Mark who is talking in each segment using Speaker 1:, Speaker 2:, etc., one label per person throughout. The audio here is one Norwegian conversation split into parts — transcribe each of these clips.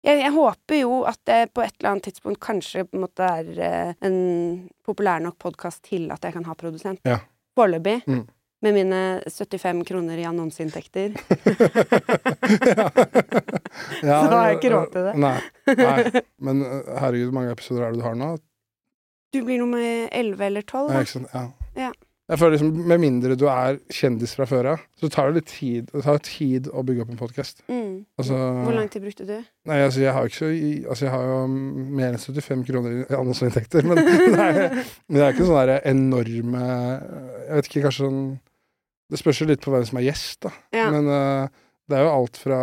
Speaker 1: jeg, jeg håper jo at det på et eller annet tidspunkt kanskje på en måte er eh, en populær nok podkast til at jeg kan ha produsent.
Speaker 2: Ja.
Speaker 1: Foreløpig.
Speaker 2: Mm.
Speaker 1: Med mine 75 kroner i annonseinntekter.
Speaker 2: Ja,
Speaker 1: Så har jeg ikke råd til det.
Speaker 2: Nei. nei. Men eh, herregud, hvor mange episoder er det du har nå?
Speaker 1: Du blir nummer 11 eller 12.
Speaker 2: Ja,
Speaker 1: da.
Speaker 2: ikke sant? Ja.
Speaker 1: Ja.
Speaker 2: Jeg føler liksom, Med mindre du er kjendis fra før av, så tar det litt tid, det tar tid å bygge opp en podkast.
Speaker 1: Mm.
Speaker 2: Altså,
Speaker 1: Hvor lang tid brukte du?
Speaker 2: nei, altså, jeg har jo ikke så, i- altså, jeg har jo mer enn 75 kroner i annonseinntekter, men det er, men det er ikke sånne der enorme Jeg vet ikke, kanskje sånn Det spørs jo litt på hvem som er gjest, da.
Speaker 1: Ja.
Speaker 2: Men eh, det er jo alt fra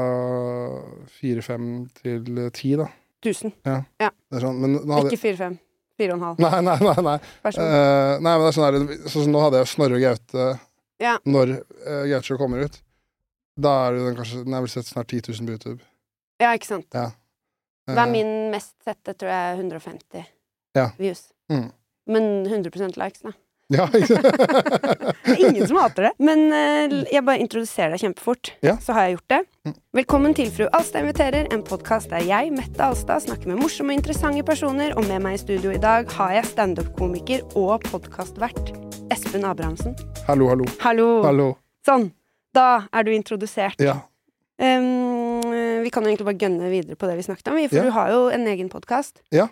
Speaker 2: fire-fem til ti, da.
Speaker 1: 1000.
Speaker 2: Det er sånn, men nå hadde
Speaker 1: Ikke 4-5. 4,5.
Speaker 2: Nei, nei, nei. nei.
Speaker 1: Vær så god.
Speaker 2: Eh, nei, men det er sånn her, sånn som nå hadde jeg Snorre og Gaute
Speaker 1: Ja.
Speaker 2: når uh, Gaute Show kommer ut. Da er det jo den kanskje Den er vel sett snart 10 000 på YouTube.
Speaker 1: Ja, ikke sant.
Speaker 2: Eh,
Speaker 1: Hva er min mest sette, tror jeg, er 150
Speaker 2: Ja.
Speaker 1: views.
Speaker 2: Mm.
Speaker 1: Men 100 likes, da.
Speaker 2: Ja,
Speaker 1: Det er ingen som hater det. Men eh, jeg bare introduserer deg kjempefort.
Speaker 2: Ja.
Speaker 1: Så har jeg gjort det.
Speaker 2: Mm.
Speaker 1: Velkommen til Fru Alstad inviterer, en podkast der jeg, Mette Alstad, snakker med morsomme og interessante personer, og med meg i studio i dag har jeg standup-komiker og podkastvert Espen Abrahamsen.
Speaker 2: hallo, hallo.
Speaker 1: Hallo.
Speaker 2: Hallo.
Speaker 1: Sånn. Da er du introdusert.
Speaker 2: Ja.
Speaker 1: Um, vi kan jo egentlig bare gønne videre på det vi snakket om, vi, for
Speaker 2: Ja.
Speaker 1: du har jo en egen podkast
Speaker 2: Ja.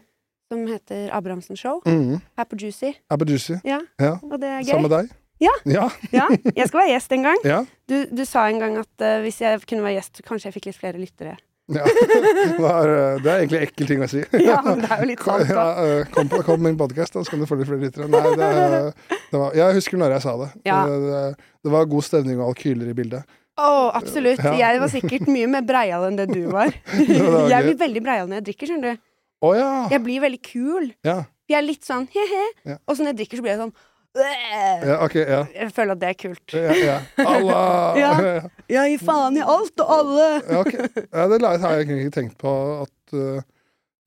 Speaker 1: som heter Abrahamsen Show,
Speaker 2: Mm.
Speaker 1: her på Juicy.
Speaker 2: Abba Juicy.
Speaker 1: Ja,
Speaker 2: Ja.
Speaker 1: og det er gøy.
Speaker 2: Samme deg?
Speaker 1: Ja.
Speaker 2: Ja.
Speaker 1: Ja, jeg skal være gjest en gang.
Speaker 2: ja.
Speaker 1: Du, du sa en gang at eh, hvis jeg kunne være gjest, så kanskje jeg fikk litt flere lyttere.
Speaker 2: ja. Det, er, eh, det er egentlig ekkel ting å si.
Speaker 1: Ja, men det er jo litt
Speaker 2: Kom,
Speaker 1: sant,
Speaker 2: ja,
Speaker 1: da.
Speaker 2: eh, kom på kom på min podkast, så kan du få litt flere lyttere. Nei, det, er- det var, jeg husker når jeg sa det.
Speaker 1: Ja.
Speaker 2: Det, det, det var god stemning og alkyler i bildet.
Speaker 1: Å, absolutt.
Speaker 2: Ja.
Speaker 1: Jeg var sikkert mye mer breial enn det du var.
Speaker 2: var
Speaker 1: Jeg
Speaker 2: gøy.
Speaker 1: blir veldig breial når jeg drikker, skjønner du.
Speaker 2: Å ja.
Speaker 1: Jeg blir veldig kul.
Speaker 2: ja!
Speaker 1: Jeg er litt sånn he-he,
Speaker 2: Ja.
Speaker 1: og så når jeg drikker, så blir jeg sånn øh.
Speaker 2: Ja, ok, ja.
Speaker 1: Jeg føler at det er kult.
Speaker 2: Ja, ja. Allah!
Speaker 1: Ja.
Speaker 2: Ja.
Speaker 1: Jeg gir faen i alt og alle!
Speaker 2: Ja, ok. ja, det la- har jeg egentlig ikke tenkt på at, uh,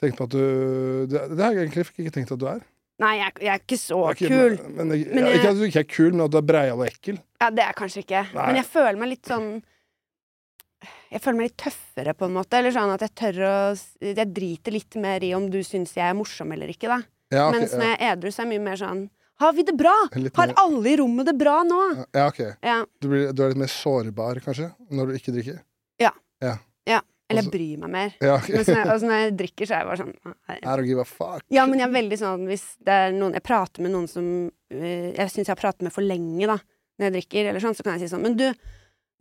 Speaker 2: tenkt på at du det, det har jeg egentlig ikke tenkt at du er.
Speaker 1: Nei, jeg, jeg er ikke så
Speaker 2: Ok,
Speaker 1: kul.
Speaker 2: Men, men, jeg-
Speaker 1: Men
Speaker 2: ja,
Speaker 1: jeg-
Speaker 2: ikke at du ikke er kul, men at du er breial og ekkel.
Speaker 1: Ja, det er jeg kanskje ikke.
Speaker 2: Nei.
Speaker 1: Men jeg føler meg litt sånn Jeg føler meg litt tøffere, på en måte. Eller sånn at jeg tør å s- Jeg driter litt mer i om du syns jeg er morsom eller ikke, da.
Speaker 2: Ja, ok,
Speaker 1: Mens når
Speaker 2: ja.
Speaker 1: jeg er edru, så er jeg mye mer sånn Har vi det bra?
Speaker 2: Litt
Speaker 1: Har
Speaker 2: mer-
Speaker 1: alle i rommet det bra nå?
Speaker 2: ja, ok.
Speaker 1: Ja.
Speaker 2: Du, blir, du er litt mer sårbar, kanskje, når du ikke drikker?
Speaker 1: Eller
Speaker 2: Altså-
Speaker 1: jeg bryr meg mer.
Speaker 2: Ja, ok.
Speaker 1: Mens når jeg, altså når jeg drikker, så er jeg bare sånn «Nei».
Speaker 2: I don't give a fuck.
Speaker 1: Ja, men jeg er veldig sånn hvis det er noen Jeg prater med noen som eh, jeg syns jeg har pratet med for lenge, da, når jeg drikker, eller sånn, så kan jeg si sånn Men du,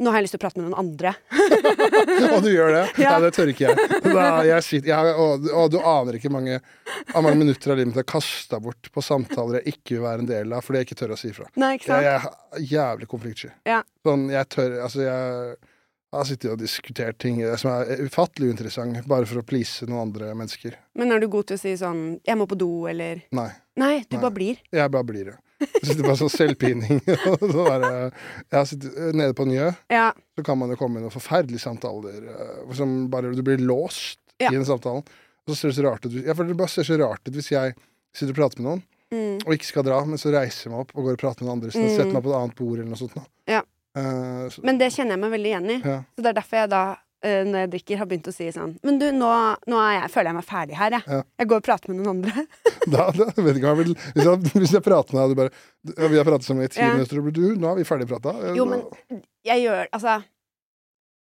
Speaker 1: nå har jeg lyst til å prate med noen andre.
Speaker 2: Og du gjør det?
Speaker 1: Ja.
Speaker 2: Nei, det tør ikke jeg. Da, jeg, sitter, jeg har- og, og du aner ikke mange, hvor mange minutter av livet mitt jeg har kasta bort på samtaler jeg ikke vil være en del av, fordi jeg ikke tør å si ifra.
Speaker 1: Nei, ikke sant?
Speaker 2: Jeg, jeg er jævlig konfliktsky.
Speaker 1: Ja.
Speaker 2: Sånn, jeg tør Altså, jeg har sittet og diskutert ting som er ufattelig uinteressant, bare for å please noen andre mennesker.
Speaker 1: Men er du god til å si sånn 'jeg må på do', eller
Speaker 2: Nei.
Speaker 1: Nei, du
Speaker 2: Nei.
Speaker 1: bare blir.
Speaker 2: Jeg bare blir det. Jeg sitter bare sånn selvpining. og så bare, jeg har sittet eh, nede på Njø,
Speaker 1: Ja.
Speaker 2: så kan man jo komme i noen forferdelige samtaler eh, som bare Du blir låst
Speaker 1: Ja.
Speaker 2: i den samtalen. Og så ser det så rart ut Jeg føler det bare ser så rart ut hvis jeg sitter og prater med noen,
Speaker 1: Mm.
Speaker 2: og ikke skal dra, men så reiser jeg meg opp og går og prater med den andre. Så
Speaker 1: Mm.
Speaker 2: Setter meg på et annet bord eller noe sånt. Da.
Speaker 1: Ja.
Speaker 2: Eh, så,
Speaker 1: Men det kjenner jeg meg veldig igjen i.
Speaker 2: ja.
Speaker 1: Så det er derfor jeg da, eh, når jeg drikker, har begynt å si sånn Men du, nå, nå er jeg, føler jeg meg ferdig her, jeg.
Speaker 2: Ja.
Speaker 1: Jeg går og prater med noen andre.
Speaker 2: da, da vet ikke, hva jeg vil, hvis, jeg, hvis jeg prater med deg, og du bare «Ja, Vi har pratet sammen i ti
Speaker 1: Ja.
Speaker 2: minutter, og du, nå er vi ferdig Eh, prata.
Speaker 1: Jo, men jeg gjør Altså,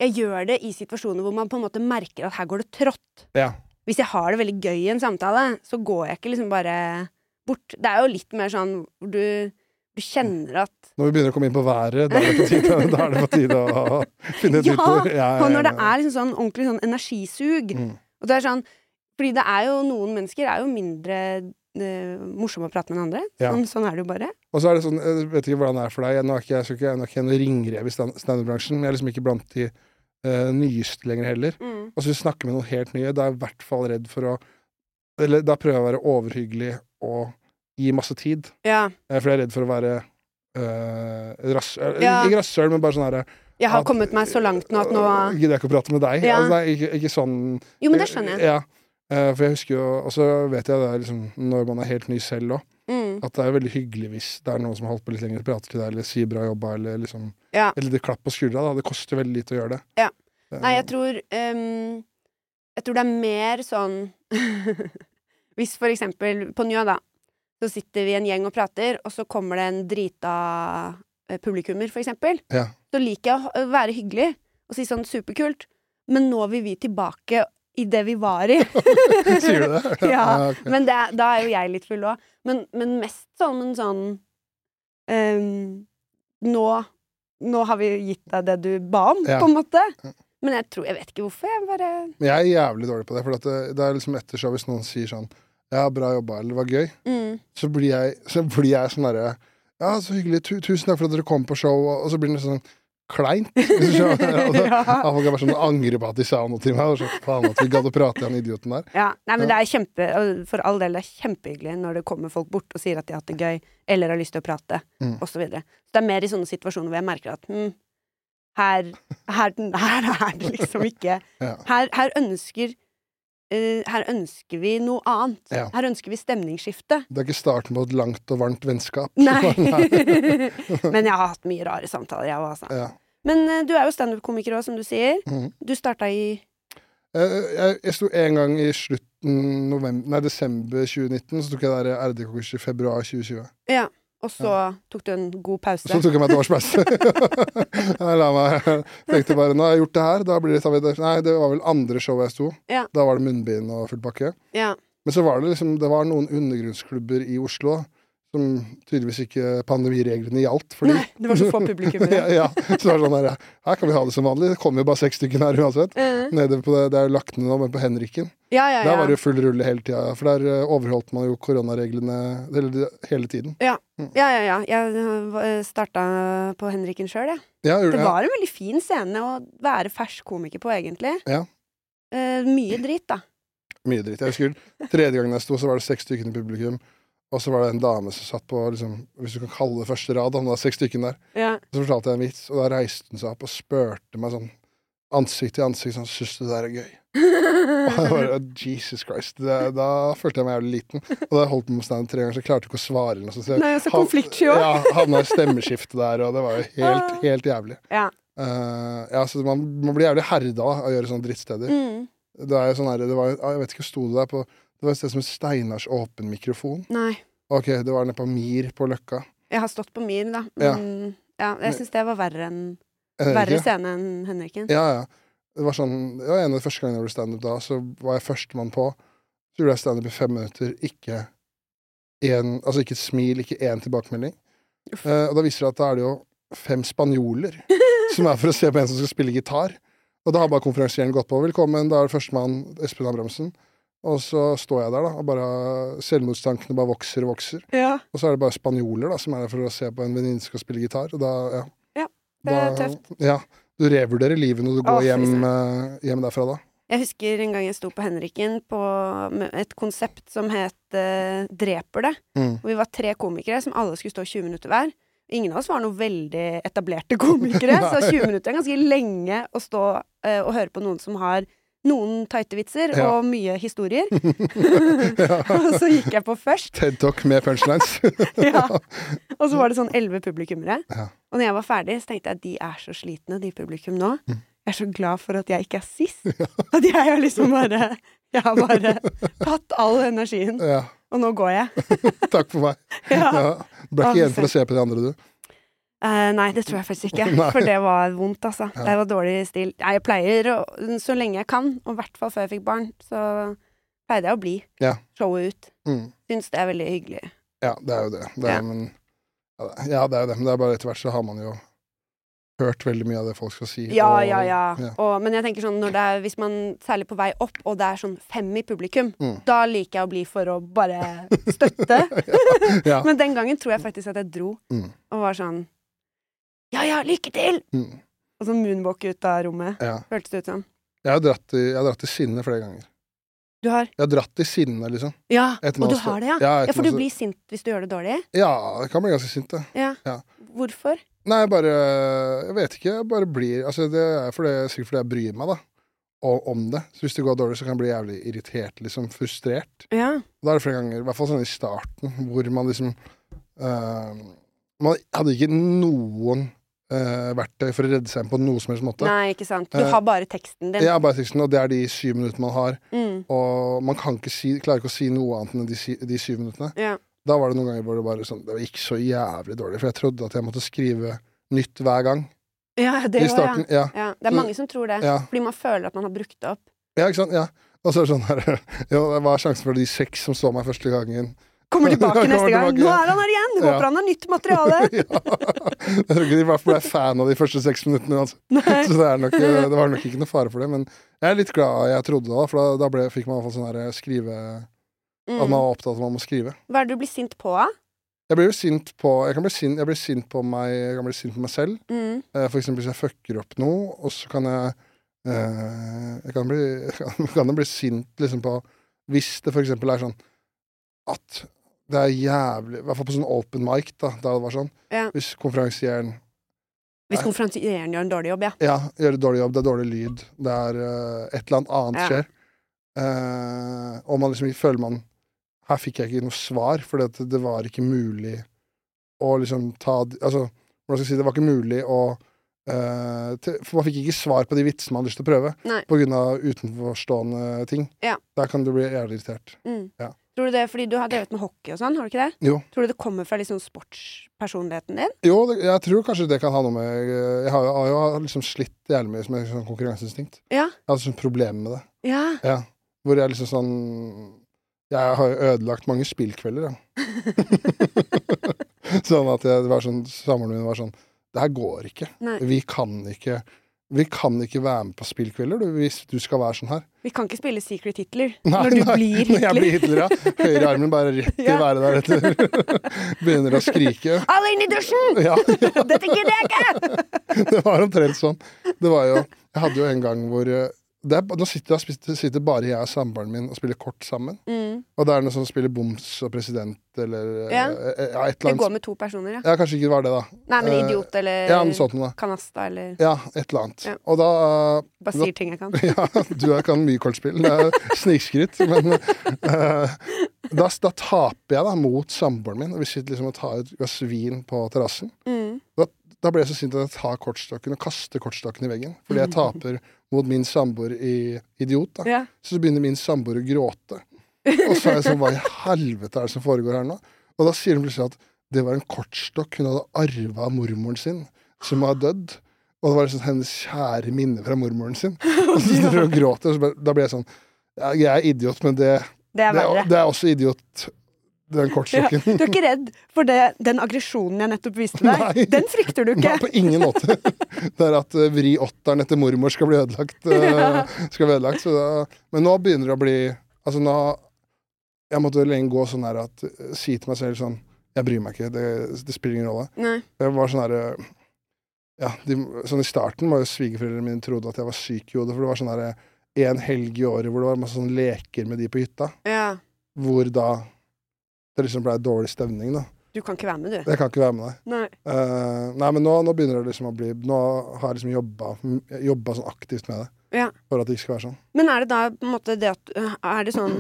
Speaker 1: jeg gjør det i situasjoner hvor man på en måte merker at her går det trått.
Speaker 2: ja.
Speaker 1: Hvis jeg har det veldig gøy i en samtale, så går jeg ikke liksom bare bort. Det er jo litt mer sånn hvor du, du kjenner at
Speaker 2: Når vi begynner å komme inn på været, da er det på tide, da er det på tide å finne et
Speaker 1: Ja,
Speaker 2: nytt ord. Ja, ja,
Speaker 1: Og når det
Speaker 2: ja.
Speaker 1: er liksom sånn ordentlig sånn energisug
Speaker 2: Eh, Mm.
Speaker 1: Og det er sånn Fordi det er jo noen mennesker er jo mindre eh, morsomme å prate med enn andre.
Speaker 2: Ja.
Speaker 1: Sånn, sånn er det jo bare.
Speaker 2: Og så er det sånn, jeg vet ikke hvordan det er for deg, nå er ikke jeg, skal ikke, jeg er nok ikke en ringrev i stand- standup-bransjen, men jeg er liksom ikke blant de eh, nyeste lenger heller. Og så snakke med noen helt nye, da er jeg i hvert fall redd for å Eller da prøver jeg å være overhyggelig og gi masse tid.
Speaker 1: Ja.
Speaker 2: Eh, For jeg er redd for å være øh, rass, eh,
Speaker 1: Ja.
Speaker 2: Ikke rasshøl, men bare sånn herre
Speaker 1: Jeg har
Speaker 2: At-
Speaker 1: kommet meg så langt nå at nå
Speaker 2: Gidder jeg ikke å prate med deg?
Speaker 1: Ja.
Speaker 2: Altså, nei, ikke, ikke sånn
Speaker 1: Jo, men det skjønner jeg.
Speaker 2: Ja. Eh, For jeg husker jo Og så vet jeg det er liksom når man er helt ny selv òg,
Speaker 1: Mm.
Speaker 2: at det er veldig hyggelig hvis det er noen som har holdt på litt lenger og prater til deg, eller sier 'bra jobba', eller liksom
Speaker 1: Ja.
Speaker 2: Et lite klapp på skuldra, da. Det koster veldig lite å gjøre det.
Speaker 1: Ja.
Speaker 2: Eh,
Speaker 1: Nei, jeg tror ehm, Jeg tror det er mer sånn Hvis for eksempel på Njø, da, så sitter vi en gjeng og prater, og så kommer det en drita eh, publikummer, for eksempel,
Speaker 2: Ja.
Speaker 1: så liker jeg å ha- være hyggelig og si sånn superkult, men nå vil vi tilbake i det vi var i.
Speaker 2: Sier du det? Ah,
Speaker 1: Ja,
Speaker 2: ok.
Speaker 1: Men det, er- da er jo jeg litt full òg. Men, men mest sånn en sånn ehm, nå, nå har vi gitt deg det du ba om,
Speaker 2: Ja.
Speaker 1: på en måte.
Speaker 2: Ja.
Speaker 1: Men jeg tror Jeg vet ikke hvorfor. Jeg bare
Speaker 2: Men jeg er jævlig dårlig på det. For at det, det er liksom etter show hvis noen sier sånn Ja, bra jobba, eller det var gøy,
Speaker 1: mm,
Speaker 2: så blir jeg, så blir jeg sånn derre Ja, så hyggelig. Tu, tusen takk for at dere kom på show. Og, og så blir det sånn kleint. Hvis du skjønner. Og da-
Speaker 1: Ja.
Speaker 2: da Folk er bare sånn angrer på at de sa noe til meg. Og så faen at vi gadd å prate til han idioten der.
Speaker 1: ja. Nei, men det er kjempe og For all del, det er kjempehyggelig når det kommer folk bort og sier at de har hatt det gøy, eller har lyst til å prate,
Speaker 2: Mm.
Speaker 1: osv. Så videre. så det er mer i sånne situasjoner hvor jeg merker at hm, her, her, her er det liksom ikke
Speaker 2: Ja.
Speaker 1: Her, her ønsker eh, Her ønsker vi noe annet.
Speaker 2: Ja.
Speaker 1: Her ønsker vi stemningsskifte.
Speaker 2: Det er ikke starten på et langt og varmt vennskap.
Speaker 1: Nei.
Speaker 2: Nei.
Speaker 1: Men jeg har hatt mye rare samtaler, jeg òg, altså.
Speaker 2: Ja.
Speaker 1: Men eh, du er jo standup-komiker òg, som du sier.
Speaker 2: Mhm.
Speaker 1: Du starta i
Speaker 2: Eh, Jeg, jeg sto en gang i slutten november, nei, desember 2019, så tok jeg der RD-kurs i februar 2020.
Speaker 1: Ja. Og så tok du en god pause.
Speaker 2: Så tok jeg meg et års pause. jeg la meg, tenkte bare nå har jeg gjort det her, da blir det tar vi det- Nei, det var vel andre show jeg sto.
Speaker 1: Ja.
Speaker 2: Da var det munnbind og full pakke.
Speaker 1: Ja.
Speaker 2: Men så var det liksom, det var noen undergrunnsklubber i Oslo da, som tydeligvis ikke pandemireglene gjaldt. Fordi,
Speaker 1: Nei, det var så få publikummere.
Speaker 2: ja, ja, så var det sånn der, her kan vi ha det som vanlig. Det kommer jo bare seks stykker her uansett.
Speaker 1: Eh,
Speaker 2: Nede på det, det er jo lagt ned nå, men på Henriken.
Speaker 1: ja, ja,
Speaker 2: Der
Speaker 1: ja.
Speaker 2: var det jo full rulle hele tida, for der eh, overholdt man jo koronareglene eller, det- hele tiden.
Speaker 1: ja, ja, ja. Jeg starta på Henriken sjøl, jeg.
Speaker 2: Ja, gjorde
Speaker 1: Det
Speaker 2: jeg.
Speaker 1: var en veldig fin scene å være fersk komiker på, egentlig.
Speaker 2: Ja.
Speaker 1: Eh, mye dritt, da.
Speaker 2: Mye dritt. Jeg husker tredje gangen jeg sto, så var det seks stykker i publikum. Og så var det en dame som satt på liksom, hvis du kan kalle det første rad, han var seks stykker der.
Speaker 1: Ja.
Speaker 2: Så fortalte jeg en vits, og da reiste hun seg opp og spurte meg sånn ansikt til ansikt sånn, syns du det der er gøy? Og jeg bare, Jesus Christ, det, da følte jeg meg jævlig liten. Og da jeg holdt på med stand tre ganger, så jeg klarte ikke å svare eller noe sånt. Så jeg
Speaker 1: Nei, altså,
Speaker 2: hav-
Speaker 1: konfliktsky også.
Speaker 2: Ja, havna i stemmeskiftet der, og det var jo helt,
Speaker 1: Ah.
Speaker 2: helt jævlig.
Speaker 1: Ja.
Speaker 2: Eh, ja, så man, man blir jævlig herda av å gjøre sånne drittsteder.
Speaker 1: Mm.
Speaker 2: Det er jo sånn her, det var, jeg vet ikke, sto det der på Det var et sted som het Steinars åpen mikrofon.
Speaker 1: Nei.
Speaker 2: Ok, det var nede på Mir på Løkka.
Speaker 1: Jeg har stått på min, da.
Speaker 2: Ja.
Speaker 1: Men ja, jeg syns det var verre enn
Speaker 2: Jeg vet
Speaker 1: Verre
Speaker 2: ikke.
Speaker 1: scene enn Henriken.
Speaker 2: Ja, ja. Det var sånn, det var en av de første gangene jeg gjorde standup da, så var jeg førstemann på. Så gjorde jeg standup i fem minutter, ikke en, altså ikke et smil, ikke én tilbakemelding.
Speaker 1: Uff.
Speaker 2: Eh, og da viser det at da er det jo fem spanjoler som er for å se på en som skal spille gitar. Og da har bare konferansieren gått på. Velkommen, da er det førstemann, Espen Abrahamsen. Og så står jeg der, da, og bare selvmordstankene bare vokser og vokser.
Speaker 1: Ja,
Speaker 2: Og så er det bare spanjoler da, som er der for å se på en venninne som skal spille gitar. Og da, ja.
Speaker 1: Ja, det er
Speaker 2: Da- Ja, du revurderer livet når du
Speaker 1: Å,
Speaker 2: går
Speaker 1: fy
Speaker 2: hjem,
Speaker 1: søren.
Speaker 2: eh, hjem derfra da.
Speaker 1: Jeg husker en gang jeg sto på Henriken på med et konsept som het eh, Dreper det.
Speaker 2: Mm.
Speaker 1: Og vi var tre komikere som alle skulle stå 20 minutter hver. Ingen av oss var noe veldig etablerte komikere, så 20 minutter er ganske lenge å stå eh, og høre på noen som har noen tighte vitser
Speaker 2: Ja.
Speaker 1: og mye historier.
Speaker 2: ja.
Speaker 1: og så gikk jeg på først.
Speaker 2: TED Talk med punchlines.
Speaker 1: ja. Og så var det sånn elleve publikummere.
Speaker 2: Ja.
Speaker 1: Og når jeg var ferdig, så tenkte jeg de er så slitne, de publikum nå.
Speaker 2: Mm.
Speaker 1: Jeg er så glad for at jeg ikke er sist. At jeg har liksom bare Jeg har bare tatt all energien,
Speaker 2: ja,
Speaker 1: og nå går jeg.
Speaker 2: takk for meg.
Speaker 1: Ja.
Speaker 2: Ja. Ble
Speaker 1: Å,
Speaker 2: ikke
Speaker 1: fy
Speaker 2: igjen for
Speaker 1: søren.
Speaker 2: å se på de andre, du.
Speaker 1: Eh, nei, det tror jeg faktisk ikke.
Speaker 2: Nei.
Speaker 1: For det var vondt, altså. Det var dårlig stil. Nei, jeg pleier, å- så lenge jeg kan, og i hvert fall før jeg fikk barn, så pleide jeg å bli.
Speaker 2: Ja.
Speaker 1: Showet ut.
Speaker 2: Mm.
Speaker 1: Syns det er veldig hyggelig.
Speaker 2: Ja, det er jo det. det er,
Speaker 1: Ja.
Speaker 2: Men, ja, det- ja, det er jo det. Men det er bare etter hvert så har man jo hørt veldig mye av det folk skal si.
Speaker 1: Ja,
Speaker 2: og-
Speaker 1: ja, ja.
Speaker 2: ja.
Speaker 1: Og, men jeg tenker sånn, når det er, hvis man særlig på vei opp, og det er sånn fem i publikum,
Speaker 2: Mm.
Speaker 1: da liker jeg å bli for å bare støtte.
Speaker 2: Ja.
Speaker 1: Men den gangen tror jeg faktisk at jeg dro
Speaker 2: Mm.
Speaker 1: og var sånn Ja, ja, lykke til!
Speaker 2: Mm.
Speaker 1: Og så moonwalk ut av rommet,
Speaker 2: ja.
Speaker 1: føltes det ut som.
Speaker 2: Jeg har dratt i, jeg har dratt i sinne flere ganger.
Speaker 1: Du har
Speaker 2: Jeg har dratt i sinne, liksom.
Speaker 1: Ja,
Speaker 2: Etter
Speaker 1: og du
Speaker 2: masse-
Speaker 1: har det, ja?
Speaker 2: Ja, etter
Speaker 1: Ja, for du
Speaker 2: masse-
Speaker 1: blir sint hvis du gjør det dårlig?
Speaker 2: Ja, jeg kan bli ganske sint, det.
Speaker 1: Ja.
Speaker 2: Ja.
Speaker 1: Hvorfor?
Speaker 2: Nei, jeg bare Jeg vet ikke. Jeg bare blir altså Det er fordi, sikkert fordi jeg bryr meg, da. Og om det. Så hvis det går dårlig, så kan jeg bli jævlig irritert, liksom. Frustrert.
Speaker 1: Ja.
Speaker 2: Da er det flere ganger, i hvert fall sånn i starten, hvor man liksom eh, Man hadde ikke noen eh, verktøy for å redde seg inn på noe som helst måte.
Speaker 1: Nei, ikke sant. Du
Speaker 2: Eh,
Speaker 1: har bare teksten din.
Speaker 2: Det er bare teksten, og det er de syv minuttene man har.
Speaker 1: Mm.
Speaker 2: Og man kan ikke si, klarer ikke å si noe annet enn de, si- de syv minuttene.
Speaker 1: Ja.
Speaker 2: Da var det noen ganger hvor det bare sånn Det gikk så jævlig dårlig, for jeg trodde at jeg måtte skrive nytt hver gang.
Speaker 1: ja, det
Speaker 2: I
Speaker 1: også,
Speaker 2: starten, ja.
Speaker 1: ja. ja. Det er
Speaker 2: Så-
Speaker 1: mange som tror det.
Speaker 2: Ja,
Speaker 1: Fordi man føler at man har brukt det opp.
Speaker 2: ja ikke sant? Ja. Og så er det sånn her Jo, hva er sjansen for de seks som så meg første gangen?
Speaker 1: Kommer tilbake
Speaker 2: Kommer
Speaker 1: neste gang.
Speaker 2: tilbake.
Speaker 1: Nå er han her igjen!
Speaker 2: Ja.
Speaker 1: Håper han har nytt materiale.
Speaker 2: ja. Jeg tror ikke de i hvert fall ble fan av de første seks minuttene uansett.
Speaker 1: Nei.
Speaker 2: Så det, er nok, eh, det var nok ikke noe fare for det. Men jeg er litt glad jeg trodde det, da, for da, da ble, fikk man i hvert fall sånn her skrive At man
Speaker 1: Mm.
Speaker 2: var opptatt av at man må skrive.
Speaker 1: Hva er det du blir sint på av?
Speaker 2: Jeg blir jo sint på Jeg kan bli sint, jeg blir sint på meg Jeg kan bli sint på meg selv.
Speaker 1: Mm.
Speaker 2: Eh, For eksempel hvis jeg fucker opp noe, og så kan jeg eh, Jeg kan bli, jeg kan, kan jeg bli sint liksom på Hvis det for eksempel er sånn at det er jævlig I hvert fall på sånn open mic, da, da det var sånn.
Speaker 1: Ja.
Speaker 2: Hvis konferansieren
Speaker 1: Hvis
Speaker 2: Nei.
Speaker 1: konferansieren gjør en dårlig jobb, ja.
Speaker 2: Ja, gjør en dårlig jobb, det er dårlig lyd, det er eh, et eller annet annet
Speaker 1: Ja.
Speaker 2: skjer. Eh, og man liksom føler man Her fikk jeg ikke noe svar, for det, det var ikke mulig å liksom ta d- Altså, hvordan skal jeg si det var ikke mulig å eh, til, For man fikk ikke svar på de vitsene man hadde lyst til å prøve,
Speaker 1: Nei.
Speaker 2: på grunn av utenforstående ting.
Speaker 1: Ja.
Speaker 2: Der kan du bli jævlig irritert.
Speaker 1: Mm.
Speaker 2: Ja.
Speaker 1: Tror du det er fordi du har drevet med hockey og sånn, har du ikke det?
Speaker 2: Jo.
Speaker 1: Tror du det kommer fra liksom sportspersonligheten din?
Speaker 2: Jo, det, jeg tror kanskje det kan ha noe med eh, Jeg har jo, har jo liksom slitt jævlig mye med sånn konkurranseinstinkt.
Speaker 1: Ja.
Speaker 2: Jeg har hatt sånn problemer med det.
Speaker 1: Ja.
Speaker 2: Ja. Hvor jeg liksom sånn Jeg har jo ødelagt mange spillkvelder, ja. sånn at jeg, det var sånn Samboeren min var sånn Det her går ikke.
Speaker 1: Nei.
Speaker 2: Vi kan ikke vi kan ikke være med på spillkvelder du, hvis du skal være sånn her.
Speaker 1: Vi kan ikke spille Secret Hitler
Speaker 2: Nei,
Speaker 1: når du
Speaker 2: nei,
Speaker 1: blir
Speaker 2: Når jeg blir
Speaker 1: Hitler.
Speaker 2: Hitler, ja. Høyrearmen bare rett i
Speaker 1: Ja.
Speaker 2: været deretter. Begynner å skrike.
Speaker 1: Alle inn i dusjen!
Speaker 2: Ja,
Speaker 1: Dette gidder jeg ikke!
Speaker 2: det var omtrent sånn. Det var jo Jeg hadde jo en gang hvor eh, det er, Nå sitter, jeg- sitter bare jeg og samboeren min og spiller kort sammen.
Speaker 1: Mm.
Speaker 2: Og det er noen som spiller boms og president, eller
Speaker 1: Ja.
Speaker 2: ja. ja, et eller
Speaker 1: Det
Speaker 2: annet.
Speaker 1: går med to personer, ja.
Speaker 2: Ja, kanskje ikke det var det, da.
Speaker 1: Nei, men
Speaker 2: Eh,
Speaker 1: idiot eller
Speaker 2: Ja, men sånn, da.
Speaker 1: kanasta eller
Speaker 2: Ja, et eller annet.
Speaker 1: Ja.
Speaker 2: Og da eh,
Speaker 1: Bare sier ting jeg kan.
Speaker 2: Ja, du er- kan mye kortspill. Det er snikskryt. Men eh, da, da taper jeg da mot samboeren min, og vi sitter liksom og tar et glass vin på terrassen.
Speaker 1: Mm.
Speaker 2: Da blir jeg så sint at jeg tar kortstokken og kaster kortstokken i veggen. Fordi jeg taper mot min samboer i idiot. da.
Speaker 1: Ja.
Speaker 2: Så begynner min samboer å gråte. Og så er jeg sånn Hva i helvete er det som foregår her nå? Og da sier hun plutselig at det var en kortstokk hun hadde arva av mormoren sin, som var dødd. Og det var liksom hennes kjære minne fra mormoren sin. Og så sitter hun og gråter, og så bare, da blir jeg sånn ja, Jeg er idiot, men det,
Speaker 1: Det er
Speaker 2: det,
Speaker 1: verre.
Speaker 2: er, det er også idiot, den
Speaker 1: Ja.
Speaker 2: kortstokken.
Speaker 1: Du er ikke redd for det, den aggresjonen jeg nettopp viste deg?
Speaker 2: Nei.
Speaker 1: Den frykter du
Speaker 2: Nei,
Speaker 1: ikke?
Speaker 2: på ingen måte. Det er at eh, vri åtteren etter mormor skal bli ødelagt. eh, Skal bli ødelagt så da, men nå begynner det å bli Altså nå Jeg måtte lenge gå sånn her at eh, Si til meg selv sånn Jeg bryr meg ikke, det, det spiller ingen rolle.
Speaker 1: Nei.
Speaker 2: Jeg var sånn her eh, ja, de, sånn I starten var jo svigerforeldrene mine trodde at jeg var syk i hodet, for det var sånn her eh, en helg i året hvor det var masse sånn leker med de på hytta,
Speaker 1: Ja.
Speaker 2: hvor da det liksom blei dårlig stemning, da.
Speaker 1: Du kan ikke være med, du.
Speaker 2: Jeg kan ikke være med deg.
Speaker 1: Nei.
Speaker 2: Eh, nei, men nå, nå begynner det liksom å bli Nå har jeg liksom jobba, jobba sånn aktivt med det.
Speaker 1: Ja.
Speaker 2: For at det ikke skal være sånn.
Speaker 1: Men er det da på en måte det at Er det sånn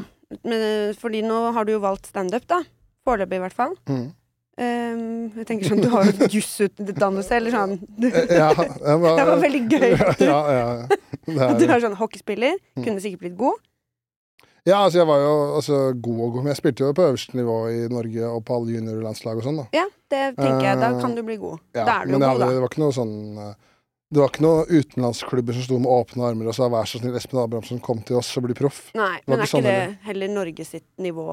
Speaker 1: men, Fordi nå har du jo valgt standup, da. Foreløpig, i hvert fall.
Speaker 2: Mm.
Speaker 1: Ehm, jeg tenker sånn, Du har jo jusutdannelse, eller sånn. Du,
Speaker 2: Eh, ja, jeg var,
Speaker 1: det var veldig gøy. at du-
Speaker 2: ja, ja, ja. Mm.
Speaker 1: at
Speaker 2: Det
Speaker 1: Du
Speaker 2: er,
Speaker 1: er sånn hockeyspiller. Kunne sikkert blitt god.
Speaker 2: ja, altså jeg var jo altså, god og god, men jeg spilte jo på øverste nivå i Norge og på alle juniorlandslag og sånn, da.
Speaker 1: Ja, det tenker jeg. Da
Speaker 2: Eh,
Speaker 1: kan du bli god.
Speaker 2: Ja,
Speaker 1: Da er du jo
Speaker 2: men jeg
Speaker 1: god,
Speaker 2: hadde,
Speaker 1: da.
Speaker 2: det var ikke noe sånn eh, Det var ikke noen utenlandsklubber som sto med åpne armer og sa vær så snill, Espen Abrahamsen, kom til oss og bli proff.
Speaker 1: Nei,
Speaker 2: var
Speaker 1: men er
Speaker 2: ikke sånn
Speaker 1: ikke det heller Norge sitt nivå?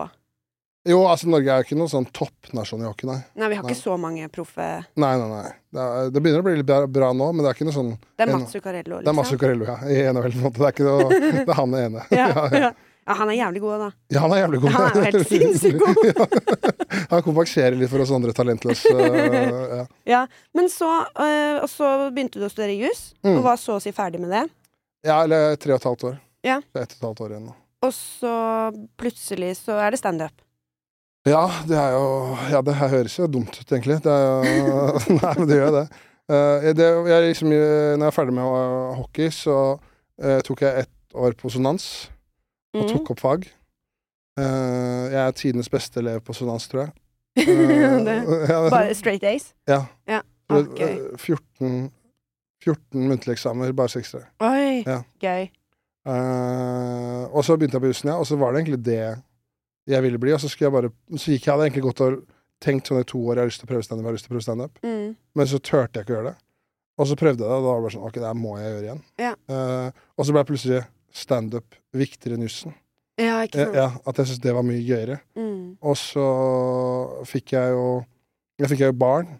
Speaker 2: Jo, altså Norge er jo ikke noen sånn toppnasjon i hockey, nei.
Speaker 1: Nei, vi har
Speaker 2: Nei.
Speaker 1: ikke så mange proffe
Speaker 2: Nei, nei, nei. Det, er, det begynner å bli litt bra, bra nå, men det er ikke noe sånn
Speaker 1: Det er
Speaker 2: Ja,
Speaker 1: Mats Zuccarello,
Speaker 2: Det er
Speaker 1: liksom.
Speaker 2: masse Zuccarello, ja. I NHL, på en måte. Det er, ikke noe, det er han den ene.
Speaker 1: Ja,
Speaker 2: Ja, ja.
Speaker 1: ja. ja, han er jævlig god, da.
Speaker 2: Ja, han er jævlig god.
Speaker 1: Han er helt sinnssykt god.
Speaker 2: Ja. Han kompenserer litt for oss andre talentløse. øh, Ja.
Speaker 1: Ja, Men så øh, Og så begynte du å studere jus,
Speaker 2: Mm.
Speaker 1: og var så å si ferdig med det.
Speaker 2: ja, eller tre og et halvt år.
Speaker 1: Ja.
Speaker 2: Det er Ett og et halvt år igjen nå.
Speaker 1: Og så plutselig så er det standup.
Speaker 2: Ja, det er jo Ja, det her høres jo dumt ut, egentlig. Det er jo Nei, men det gjør jo det. Eh, det jeg er liksom, eh, når jeg er ferdig med eh, hockey, så eh, tok jeg ett år på sonans, og
Speaker 1: Mm.
Speaker 2: tok opp fag. Eh, jeg er tidenes beste elev på sonans, tror jeg. Eh,
Speaker 1: Det-
Speaker 2: ja,
Speaker 1: Bare straight days.
Speaker 2: Så
Speaker 1: Ah,
Speaker 2: det-
Speaker 1: gøy.
Speaker 2: 14, 14 eh, muntlige eksamener, bare seksere.
Speaker 1: Oi,
Speaker 2: Ja.
Speaker 1: gøy.
Speaker 2: Eh, og så begynte jeg på jussen, ja, og så var det egentlig det jeg ville bli. Og så, skulle jeg bare, så gikk jeg hadde egentlig gått og tenkt sånn i to år jeg har lyst til å prøve standup, jeg har lyst til å prøve standup.
Speaker 1: Mm.
Speaker 2: Men så turte jeg ikke å gjøre det. Og så prøvde jeg det, og da var det bare sånn Ok, det her må jeg gjøre igjen.
Speaker 1: Ja.
Speaker 2: Eh, og så ble plutselig standup viktigere enn jussen.
Speaker 1: Ja, ikke
Speaker 2: Eh,
Speaker 1: sant.
Speaker 2: ja, at jeg syntes det var mye gøyere.
Speaker 1: Mm.
Speaker 2: Og så fikk jeg jo Jeg fikk jo barn,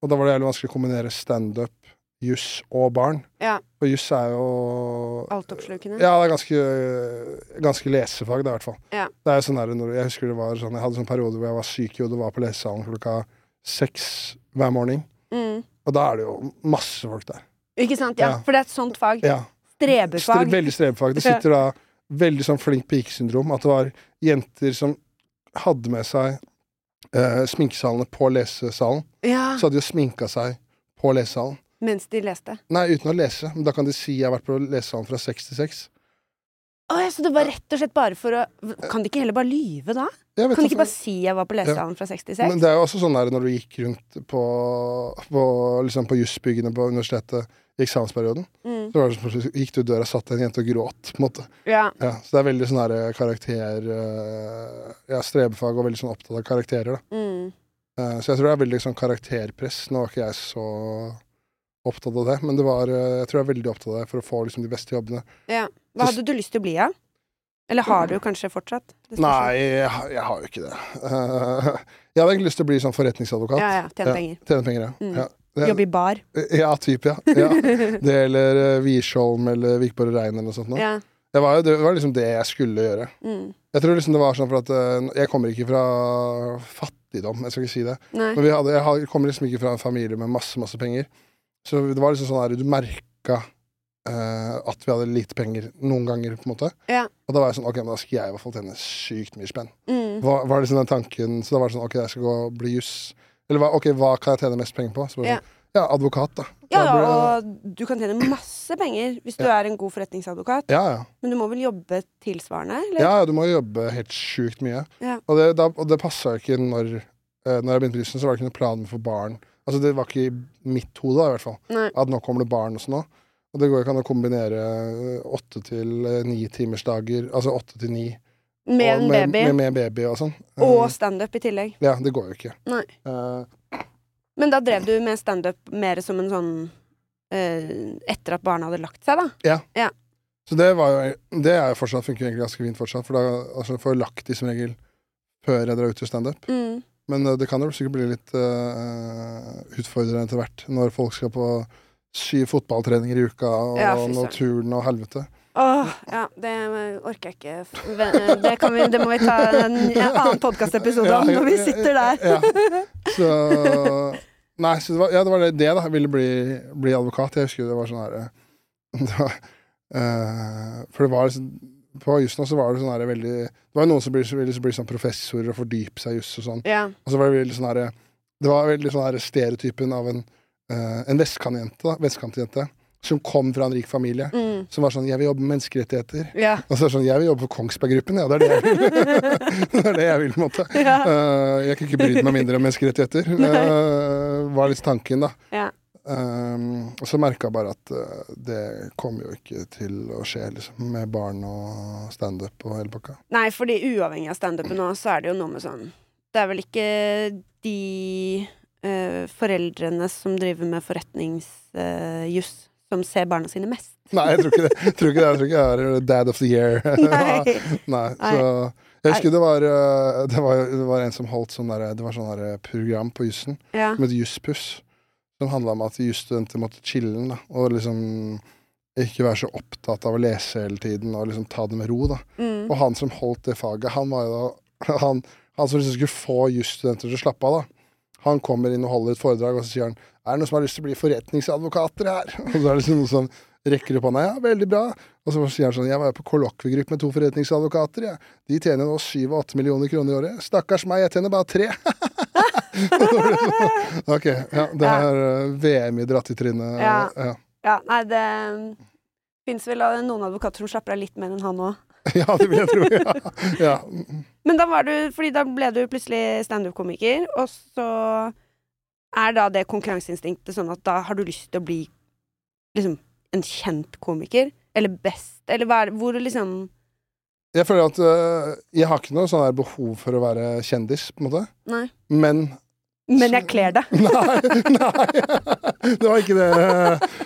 Speaker 2: og da var det jævlig vanskelig å kombinere standup, juss og barn.
Speaker 1: Ja.
Speaker 2: Og juss er jo
Speaker 1: Altoppslukende.
Speaker 2: ja, det er ganske, ganske lesefag, det, i hvert fall.
Speaker 1: Ja.
Speaker 2: Det er jo sånn der, når, jeg husker det var sånn, jeg hadde sånn periode hvor jeg var syk i hodet og var på lesesalen klokka seks hver morgen.
Speaker 1: Mm.
Speaker 2: Og da er det jo masse folk der.
Speaker 1: Ikke sant? Ja,
Speaker 2: Ja.
Speaker 1: for det er et sånt fag.
Speaker 2: Ja. Stre,
Speaker 1: Streberfag.
Speaker 2: veldig strevfag. Det sitter da veldig sånn flink pike-syndrom. At det var jenter som hadde med seg eh, sminkesalene på lesesalen.
Speaker 1: Ja,
Speaker 2: Så hadde de jo sminka seg på lesesalen.
Speaker 1: mens de leste.
Speaker 2: Nei, uten å lese. Men da kan de si jeg har vært på lesesalen fra seks til seks.
Speaker 1: Å, ja, så det var rett og slett bare for å Kan de ikke heller bare lyve, da?
Speaker 2: Jeg vet
Speaker 1: Kan de
Speaker 2: at-
Speaker 1: ikke bare si jeg var på lesesalen fra 66?
Speaker 2: Men det er jo også sånn der når du gikk rundt på, på, liksom på jusbyggene på universitetet i eksamensperioden,
Speaker 1: Mm.
Speaker 2: så var det som, gikk du i døra, satt en jente og gråt, på en måte.
Speaker 1: Ja.
Speaker 2: Ja, så det er veldig sånn der eh, karakter eh, Ja, strebefag og veldig sånn opptatt av karakterer, da.
Speaker 1: Mm.
Speaker 2: Eh, Så jeg tror det er veldig sånn karakterpress. Nå var ikke jeg så opptatt av det, men det var, eh, jeg tror jeg er veldig opptatt av det for å få liksom de beste jobbene.
Speaker 1: Hva hadde du lyst til å bli av? Eller har du kanskje fortsatt? Det spørs jo.
Speaker 2: Nei, jeg, har- jeg har jo ikke det. Eh, Jeg hadde egentlig lyst til å bli sånn forretningsadvokat.
Speaker 1: Ja, ja. Tjene penger.
Speaker 2: Tjene penger, ja.
Speaker 1: Mm.
Speaker 2: ja. Det-
Speaker 1: Jobbe i bar.
Speaker 2: Ja, type, ja. ja. Det eller uh, Wiersholm eller Vikborg Rein eller noe sånt. nå.
Speaker 1: Ja.
Speaker 2: Det, var jo, det var liksom det jeg skulle gjøre.
Speaker 1: Mm.
Speaker 2: Jeg tror liksom det var sånn for at eh, Jeg kommer ikke fra fattigdom, jeg skal ikke si det.
Speaker 1: Nei.
Speaker 2: Men vi hadde, jeg har- kommer liksom ikke fra en familie med masse, masse penger. Så det var liksom sånn her, du merka eh, at vi hadde lite penger noen ganger, på en måte.
Speaker 1: Ja.
Speaker 2: Og da var jeg sånn, ok, men da skal jeg i hvert fall tjene sykt mye spenn.
Speaker 1: Mm.
Speaker 2: Hva, var liksom den tanken, Så da var det sånn, ok, jeg skal gå og bli juss. Eller hva, ok, hva kan jeg tjene mest penger på? Så
Speaker 1: Ja.
Speaker 2: bare sånn, ja, advokat, da.
Speaker 1: Ja,
Speaker 2: Da
Speaker 1: ja,
Speaker 2: blir det-
Speaker 1: og du kan tjene masse penger hvis du er en god forretningsadvokat,
Speaker 2: Ja, ja.
Speaker 1: men du må vel jobbe tilsvarende? Eller?
Speaker 2: Ja, ja, du må jobbe helt sjukt mye.
Speaker 1: Ja.
Speaker 2: Og det, da, og det passa jo ikke når, eh, når jeg begynte på jussen, så var det ikke noen plan for barn. Altså, det var ikke i mitt hode, da, i hvert fall.
Speaker 1: Nei.
Speaker 2: At nå kommer det barn også nå. Og det går jo ikke an å kombinere eh, åtte til eh, ni timersdager, altså åtte til ni,
Speaker 1: Med
Speaker 2: og
Speaker 1: en
Speaker 2: med,
Speaker 1: baby.
Speaker 2: med, med baby og sånn. Eh,
Speaker 1: Og standup i tillegg.
Speaker 2: Ja, det går jo ikke.
Speaker 1: Nei.
Speaker 2: Eh,
Speaker 1: Men da drev du med standup mer som en sånn eh, Etter at barna hadde lagt seg, da?
Speaker 2: så det var jo Det er jo fortsatt, funker jo egentlig ganske fint fortsatt, for da altså, får jeg lagt de som regel før jeg drar ut til standup.
Speaker 1: Mm.
Speaker 2: Men eh, det kan jo sikkert bli litt eh, utfordrende etter hvert, når folk skal på syv fotballtreninger i uka, og
Speaker 1: Ja, fy søren.
Speaker 2: noe turn og helvete.
Speaker 1: Åh, ja, det orker jeg ikke. F- ve- Det, kan vi, det må vi ta en, en annen podkastepisode om
Speaker 2: Ja, ja,
Speaker 1: når vi
Speaker 2: ja,
Speaker 1: sitter der.
Speaker 2: Ja. Så Nei, så det var, ja, det var det, det da. Jeg ville bli, bli advokat. Jeg husker det var sånn her eh, det var, eh, For det var liksom På jussen også var det sånn her veldig Det var noen som ville ville bli sånn professorer og fordype seg i juss og sånn.
Speaker 1: Ja.
Speaker 2: Og så var det veldig sånn her Det var veldig sånn her stereotypen av en, eh, en vestkantjente, da, vestkantjente som kom fra en rik familie.
Speaker 1: Mm.
Speaker 2: Som var sånn 'Jeg vil jobbe med menneskerettigheter'.
Speaker 1: Ja.
Speaker 2: Og så er det sånn 'Jeg vil jobbe for Kongsberg Gruppen', ja. Det er det jeg vil. det er det jeg vil, på en måte.
Speaker 1: Ja.
Speaker 2: Eh, jeg kunne ikke brydd meg mindre om menneskerettigheter. Uh, var litt tanken, da.
Speaker 1: Ja.
Speaker 2: Um, og så merka jeg bare at eh, det kom jo ikke til å skje, liksom. Med barn og standup og hele pakka.
Speaker 1: Nei, fordi uavhengig av standupen nå, så er det jo noe med sånn Det er vel ikke de eh, foreldrene som driver med forretningsjuss, som ser barna sine mest.
Speaker 2: Nei, jeg tror ikke det. Jeg tror ikke, det. Jeg tror ikke jeg er eh, dad of the year.
Speaker 1: Nei.
Speaker 2: Nei,
Speaker 1: Nei.
Speaker 2: så Jeg husker det var, øh, det, var, det var en som holdt sånn der, det var sånn der program på jussen
Speaker 1: Ja.
Speaker 2: som het Jusspuss. Som handla om at jusstudenter måtte chille da, og liksom ikke være så opptatt av å lese hele tiden og liksom ta det med ro. da.
Speaker 1: Mm.
Speaker 2: Og han som holdt det faget, han var jo da Han, han som liksom skulle få jusstudenter til å slappe av, da. Han kommer inn og holder et foredrag, og så sier han Er det noen som har lyst til å bli forretningsadvokater her? Og så er det liksom noen som rekker opp hånda. Ja, veldig bra. Og så sier han sånn Jeg var jo på kollokviegruppe med to forretningsadvokater, jeg. De tjener nå 7-8 millioner kroner i året. Stakkars meg, jeg tjener bare tre. Og da blir det sånn, ok. Ja, det
Speaker 1: Ja.
Speaker 2: er eh, VM i dratt i trynet.
Speaker 1: Ja.
Speaker 2: Ja.
Speaker 1: ja. Nei, det fins vel eh, noen advokater som slapper av litt mer enn han òg.
Speaker 2: ja, det vil jeg tro. Ja. ja.
Speaker 1: Men da var du Fordi da ble du plutselig standup-komiker, og så Er da det konkurranseinstinktet sånn at da har du lyst til å bli liksom en kjent komiker? Eller best? Eller hva er det Hvor liksom
Speaker 2: Jeg føler at øh, jeg har ikke noe sånn der behov for å være kjendis, på en måte.
Speaker 1: Nei.
Speaker 2: Men
Speaker 1: Men jeg kler det.
Speaker 2: Nei, nei. Det var ikke det.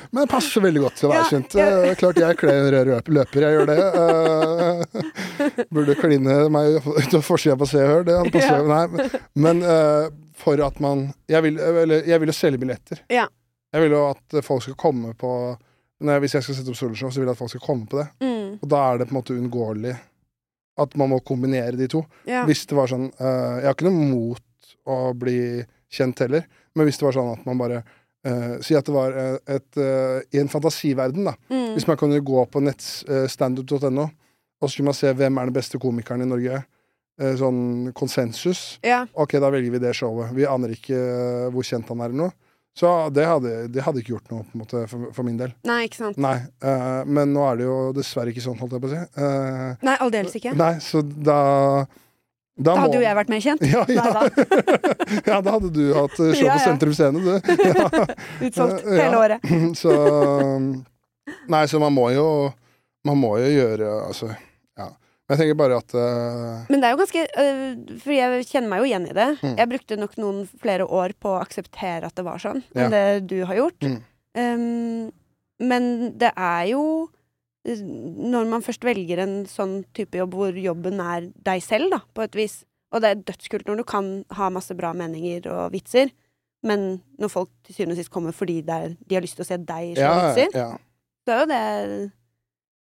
Speaker 2: Men det passer veldig godt til å være
Speaker 1: Ja,
Speaker 2: kjent.
Speaker 1: ja.
Speaker 2: Eh, Klart jeg kler en rød røp- løper, jeg gjør det. Eh, Burde kline meg ut av forsida på Se og Hør, det hadde passet. Nei, men eh, for at man Jeg vil, eller, jeg vil jo selge billetter.
Speaker 1: Ja.
Speaker 2: Jeg vil jo at folk skal komme på når, Hvis jeg skal sette opp soloshow, så vil jeg at folk skal komme på det.
Speaker 1: Mm,
Speaker 2: Og da er det på en måte uunngåelig at man må kombinere de to.
Speaker 1: ja.
Speaker 2: Hvis det var sånn eh, Jeg har ikke noe mot å bli kjent heller, men hvis det var sånn at man bare eh, Si at det var eh, et eh, I en fantasiverden, da.
Speaker 1: Mm,
Speaker 2: Hvis man kunne gå på netts eh, standup.no, og så kunne man se hvem er den beste komikeren i Norge. eh, sånn konsensus.
Speaker 1: ja.
Speaker 2: Ok, da velger vi det showet. Vi aner ikke eh, hvor kjent han er eller noe. Så det hadde, det hadde ikke gjort noe på en måte, for, for min del.
Speaker 1: Nei, ikke sant.
Speaker 2: Nei. eh, men nå er det jo dessverre ikke sånn, holdt jeg på å si. Eh,
Speaker 1: Nei, aldeles ikke.
Speaker 2: Nei, så da Da,
Speaker 1: Da
Speaker 2: må-
Speaker 1: hadde jo jeg vært mer kjent.
Speaker 2: ja, ja.
Speaker 1: Nei da.
Speaker 2: ja, da hadde du hatt eh, show
Speaker 1: Ja, ja.
Speaker 2: på Sentrum Scene, du.
Speaker 1: Utsolgt
Speaker 2: Ja, ja.
Speaker 1: hele året.
Speaker 2: Så mm, Nei, så man må jo Man må jo gjøre Altså, ja. Men jeg tenker bare at eh,
Speaker 1: Men det er jo ganske øh, For jeg kjenner meg jo igjen i det.
Speaker 2: Mm.
Speaker 1: Jeg brukte nok noen flere år på å akseptere at det var sånn,
Speaker 2: Ja.
Speaker 1: enn det du har gjort.
Speaker 2: Mm.
Speaker 1: Um, men det er jo øh, Når man først velger en sånn type jobb hvor jobben er deg selv, da, på et vis Og det er dødskult når du kan ha masse bra meninger og vitser, men når folk til syvende og sist kommer fordi det er, de har lyst til å se deg slå
Speaker 2: ja,
Speaker 1: vitser,
Speaker 2: ja.
Speaker 1: så er jo det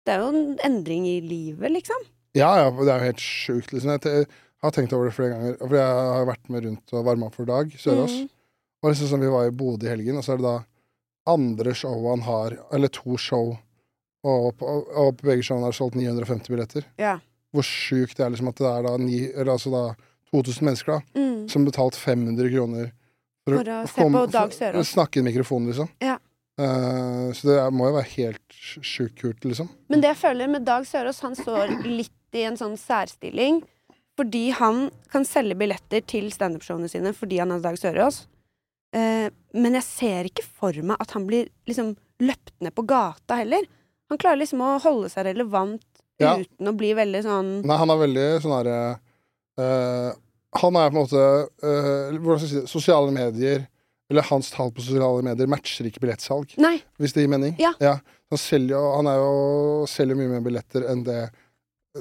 Speaker 1: Det er jo en endring i livet, liksom.
Speaker 2: ja, ja, det er jo helt sjukt, liksom. Jeg te- har tenkt over det flere ganger. For jeg har vært med rundt og varma opp for Dag Sørås.
Speaker 1: Mm.
Speaker 2: Og liksom sånn, Vi var i Bodø i helgen, og så er det da andre show han har, eller to show, og på, og på begge showene har det solgt 950 billetter.
Speaker 1: Ja.
Speaker 2: Hvor sjukt det er liksom at det er da, ni, eller altså da 2000 mennesker da,
Speaker 1: Mm.
Speaker 2: som betalte 500 kroner
Speaker 1: For å se på Dag Sørås.
Speaker 2: for å Snakke i en mikrofon, liksom.
Speaker 1: Ja.
Speaker 2: Eh, så det er- må jo være helt sj- sjukt kult, liksom.
Speaker 1: Men det jeg føler med Dag Sørås, han står litt i en sånn særstilling. Fordi han kan selge billetter til standup-showene sine fordi han er Dag Sørås. Eh, men jeg ser ikke for meg at han blir liksom løpt ned på gata heller. Han klarer liksom å holde seg relevant
Speaker 2: Ja.
Speaker 1: uten å bli veldig sånn
Speaker 2: Nei, han er veldig sånn herre eh, Han er på en måte eh, Hvordan skal jeg si det? Sosiale medier, eller hans tall på sosiale medier, matcher ikke billettsalg.
Speaker 1: Nei.
Speaker 2: Hvis det gir mening?
Speaker 1: Ja.
Speaker 2: Han, selger, jo- han er jo, selger mye mer billetter enn det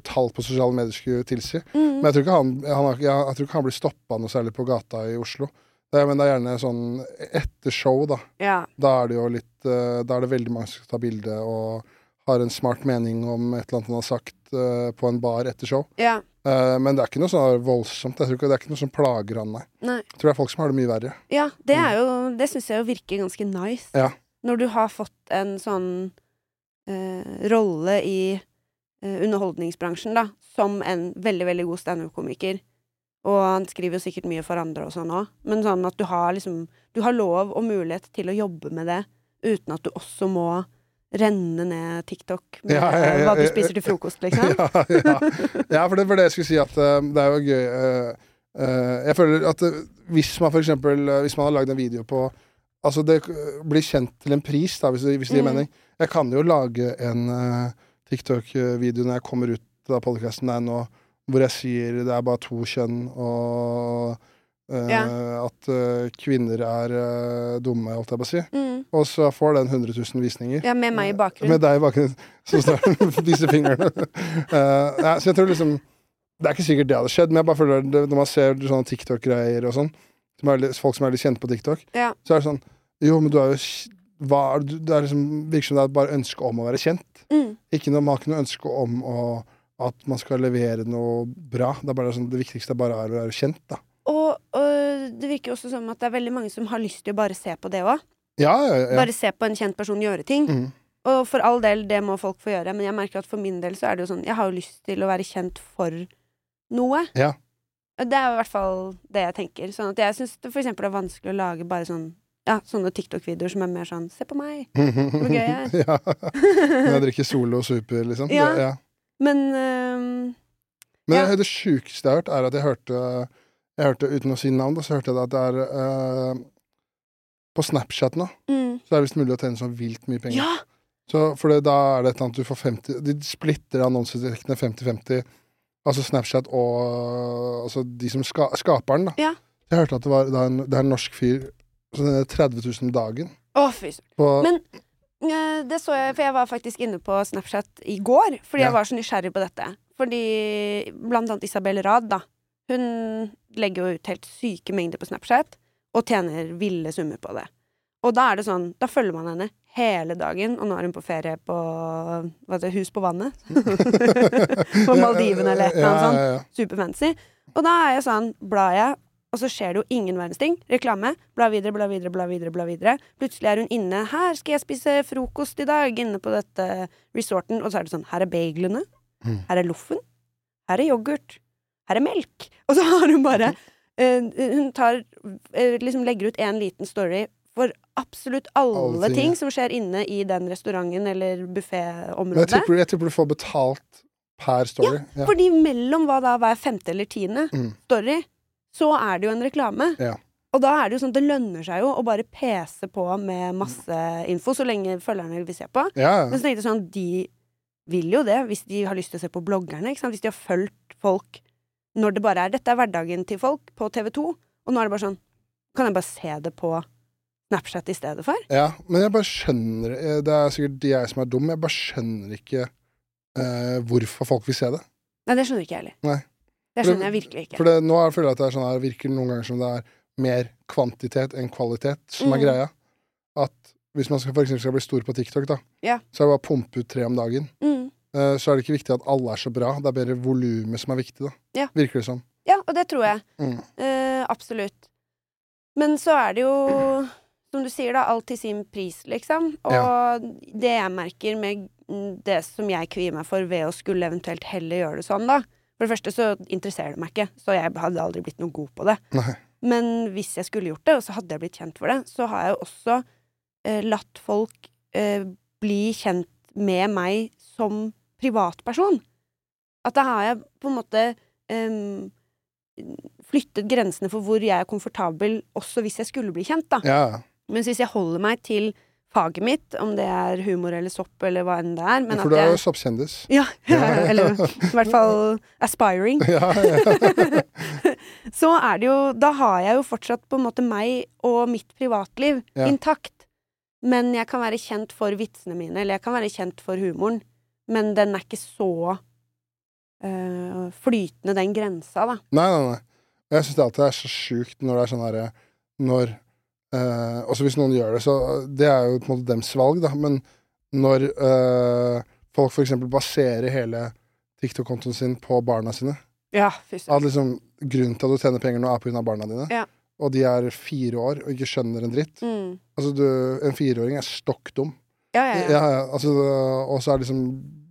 Speaker 2: tall på sosiale medier skulle tilsi.
Speaker 1: Mm,
Speaker 2: Men jeg tror ikke han, han, har- jeg, jeg tror ikke han blir stoppa noe særlig på gata i Oslo. Det, er- men det er gjerne sånn etter show, da.
Speaker 1: ja.
Speaker 2: Da er det jo litt eh, Da er det veldig mange som skal ta bilde og har en smart mening om et eller annet han har sagt eh, på en bar etter show.
Speaker 1: Ja.
Speaker 2: Eh, men det er ikke noe sånn voldsomt. Jeg tror ikke, det er ikke noe som plager han, nei.
Speaker 1: Nei.
Speaker 2: Jeg tror det er folk som har det mye verre.
Speaker 1: Ja, det er jo Det syns jeg jo virker ganske nice.
Speaker 2: Mm. Ja.
Speaker 1: Når du har fått en sånn eh, rolle i eh, underholdningsbransjen, da, som en veldig, veldig god standup-komiker. Og han skriver jo sikkert mye for andre og sånn òg, men sånn at du har liksom Du har lov og mulighet til å jobbe med det uten at du også må renne ned TikTok med
Speaker 2: Ja, ja, ja,
Speaker 1: eh, hva du
Speaker 2: ja,
Speaker 1: spiser til frokost, liksom.
Speaker 2: ja, ja. ja, for det var det jeg skulle si, at eh, det er jo gøy eh, eh, Jeg føler at eh, hvis man for eksempel, eh, hvis man har lagd en video på Altså, det eh, blir kjent til en pris, da, hvis, det- hvis det gir
Speaker 1: Mm.
Speaker 2: mening. Jeg kan jo lage en eh, TikTok-video når jeg kommer ut av podkasten der nå, hvor jeg sier det er bare to kjønn, og eh, at eh, kvinner er eh, dumme, holdt jeg på å si.
Speaker 1: Mm.
Speaker 2: Og så får den 100 000 visninger.
Speaker 1: ja, med meg i bakgrunnen.
Speaker 2: Med deg i bakgrunnen, så snart disse fingrene. Eh, nei, så jeg tror liksom Det er ikke sikkert det hadde skjedd, men jeg bare føler det, når man ser sånne TikTok-greier og sånn, som er, litt- folk som er litt kjente på TikTok,
Speaker 1: Ja.
Speaker 2: så er det sånn Jo, men du er jo kj- hva er, du, Det er liksom, virker som det er bare ønske om å være kjent.
Speaker 1: Mm.
Speaker 2: Ikke noe, man har ikke noe ønske om å, at man skal levere noe bra. Det, er bare sånn, det viktigste er bare å være kjent, da.
Speaker 1: Og, og det virker jo også som at det er veldig mange som har lyst til å bare se på det òg.
Speaker 2: Ja, ja, ja.
Speaker 1: Bare se på en kjent person gjøre ting.
Speaker 2: Mm.
Speaker 1: Og for all del, det må folk få gjøre, men jeg merker at for min del så er det jo sånn Jeg har jo lyst til å være kjent for noe.
Speaker 2: Ja.
Speaker 1: Og Det er jo i hvert fall det jeg tenker. Sånn at jeg syns det for eksempel er vanskelig å lage bare sånn ja, sånne TikTok-videoer som er mer sånn 'se på meg'. gøy jeg
Speaker 2: ja. Når jeg drikker Solo og Super, liksom.
Speaker 1: Ja.
Speaker 2: Det, ja.
Speaker 1: Men øhm,
Speaker 2: Men
Speaker 1: Ja.
Speaker 2: det sjukeste jeg har hørt, er at jeg hørte Jeg hørte, uten å si navn, da, så hørte jeg det at det er eh, På Snapchat nå
Speaker 1: Mm.
Speaker 2: så er det visst mulig å tjene så vilt mye penger.
Speaker 1: Ja!
Speaker 2: Så for det, da er det et eller annet du får 50 De splitter annonseinntektene 50-50, altså Snapchat og altså de som ska, skaper den, da.
Speaker 1: Ja.
Speaker 2: Jeg hørte at det, var, det, er en, det er en norsk fyr så den er 30 000 dagen
Speaker 1: Å, fy søren.
Speaker 2: på
Speaker 1: Men- Eh, Det så jeg, for jeg var faktisk inne på Snapchat i går, fordi
Speaker 2: Ja.
Speaker 1: jeg var så nysgjerrig på dette. Fordi blant annet Isabel Rad, da. Hun legger jo ut helt syke mengder på Snapchat, og tjener ville summer på det. Og da er det sånn, da følger man henne hele dagen, og nå er hun på ferie på hva heter det, hus på vannet. på Maldivene eller et eller annet sånt
Speaker 2: Ja, ja, ja.
Speaker 1: superfancy. Og da er jeg sånn, blar jeg, og så skjer det jo ingen verdens ting. Reklame. Bla videre, bla videre, bla videre. bla videre. Plutselig er hun inne. 'Her skal jeg spise frokost i dag', inne på dette resorten. Og så er det sånn, her er bagelene.
Speaker 2: Mm.
Speaker 1: Her er loffen. Her er yoghurt. Her er melk. Og så har hun bare eh, Hun tar eh, Liksom legger ut en liten story for absolutt alle,
Speaker 2: Alle ting,
Speaker 1: ting,
Speaker 2: ja.
Speaker 1: som skjer inne i den restauranten eller
Speaker 2: Men jeg
Speaker 1: bufféområdet.
Speaker 2: tipper, jeg tipper du får betalt per story. Ja,
Speaker 1: Fordi mellom hva da hver femte eller tiende
Speaker 2: Mm.
Speaker 1: story, så er det jo en reklame.
Speaker 2: Ja.
Speaker 1: Og da er det jo sånn, det lønner seg jo å bare pese på med masse info, så lenge følgerne vil se på.
Speaker 2: ja.
Speaker 1: Men så tenkte jeg sånn, de vil jo det, hvis de har lyst til å se på bloggerne, ikke sant? Hvis de har følt folk når det bare er, dette er hverdagen til folk på TV 2, og nå er det bare sånn, kan jeg bare se det på Snapchat i stedet for?
Speaker 2: ja. Men jeg bare skjønner eh, Det er sikkert de jeg som er dum, men jeg bare skjønner ikke eh, hvorfor folk vil se det.
Speaker 1: Nei, det skjønner ikke jeg heller.
Speaker 2: Nei.
Speaker 1: Det
Speaker 2: For det-
Speaker 1: skjønner jeg virkelig ikke.
Speaker 2: For det, nå er- føler jeg at det er sånn her, virker noen ganger som det er mer kvantitet enn kvalitet som er
Speaker 1: Mm.
Speaker 2: greia. At hvis man skal, for eksempel skal bli stor på TikTok, da,
Speaker 1: Ja.
Speaker 2: så er det bare å pumpe ut tre om dagen.
Speaker 1: Mm.
Speaker 2: Eh, så er det ikke viktig at alle er så bra, det er bare volumet som er viktig, da.
Speaker 1: Ja.
Speaker 2: Virker det som.
Speaker 1: Ja, og det tror jeg.
Speaker 2: Mm.
Speaker 1: Eh, absolutt. Men så er det jo, som du sier, da, alt til sin pris, liksom. Og det jeg merker med mm, det som jeg kvier meg for ved å skulle eventuelt heller gjøre det sånn, da For det første så interesserer det meg ikke, så jeg hadde aldri blitt noe god på det.
Speaker 2: Nei.
Speaker 1: Men hvis jeg skulle gjort det, og så hadde jeg blitt kjent for det, så har jeg jo også eh, latt folk eh, bli kjent med meg som privatperson. At da har jeg på en måte em, flyttet grensene for hvor jeg er komfortabel, også hvis jeg skulle bli kjent, da.
Speaker 2: Ja,
Speaker 1: Mens hvis jeg holder meg til faget mitt, om det er humor eller sopp eller hva enn det er men
Speaker 2: for
Speaker 1: at
Speaker 2: du er jo
Speaker 1: jeg,
Speaker 2: soppkjendis.
Speaker 1: ja,
Speaker 2: Ja.
Speaker 1: eller i hvert fall aspiring.
Speaker 2: ja, ja.
Speaker 1: så er det jo Da har jeg jo fortsatt på en måte meg og mitt privatliv
Speaker 2: Ja.
Speaker 1: intakt. Men jeg kan være kjent for vitsene mine, eller jeg kan være kjent for humoren. Men den er ikke så øh, flytende, den grensa, da.
Speaker 2: Nei, nei, nei. Og Jeg syns alltid det er så sjukt når det er sånn herre Når eh, Også hvis noen gjør det, så Det er jo på en måte dems valg, da, men når eh, folk f.eks. baserer hele TikTok-kontoen sin på barna sine
Speaker 1: Ja, fy søren.
Speaker 2: At liksom grunnen til at du tjener penger nå, er pga. barna dine,
Speaker 1: Ja.
Speaker 2: og de er fire år og ikke skjønner en dritt
Speaker 1: Mm.
Speaker 2: Altså, du, en fireåring er stokk dum.
Speaker 1: Ja, ja,
Speaker 2: Ja,
Speaker 1: ja.
Speaker 2: ja, altså, og så er liksom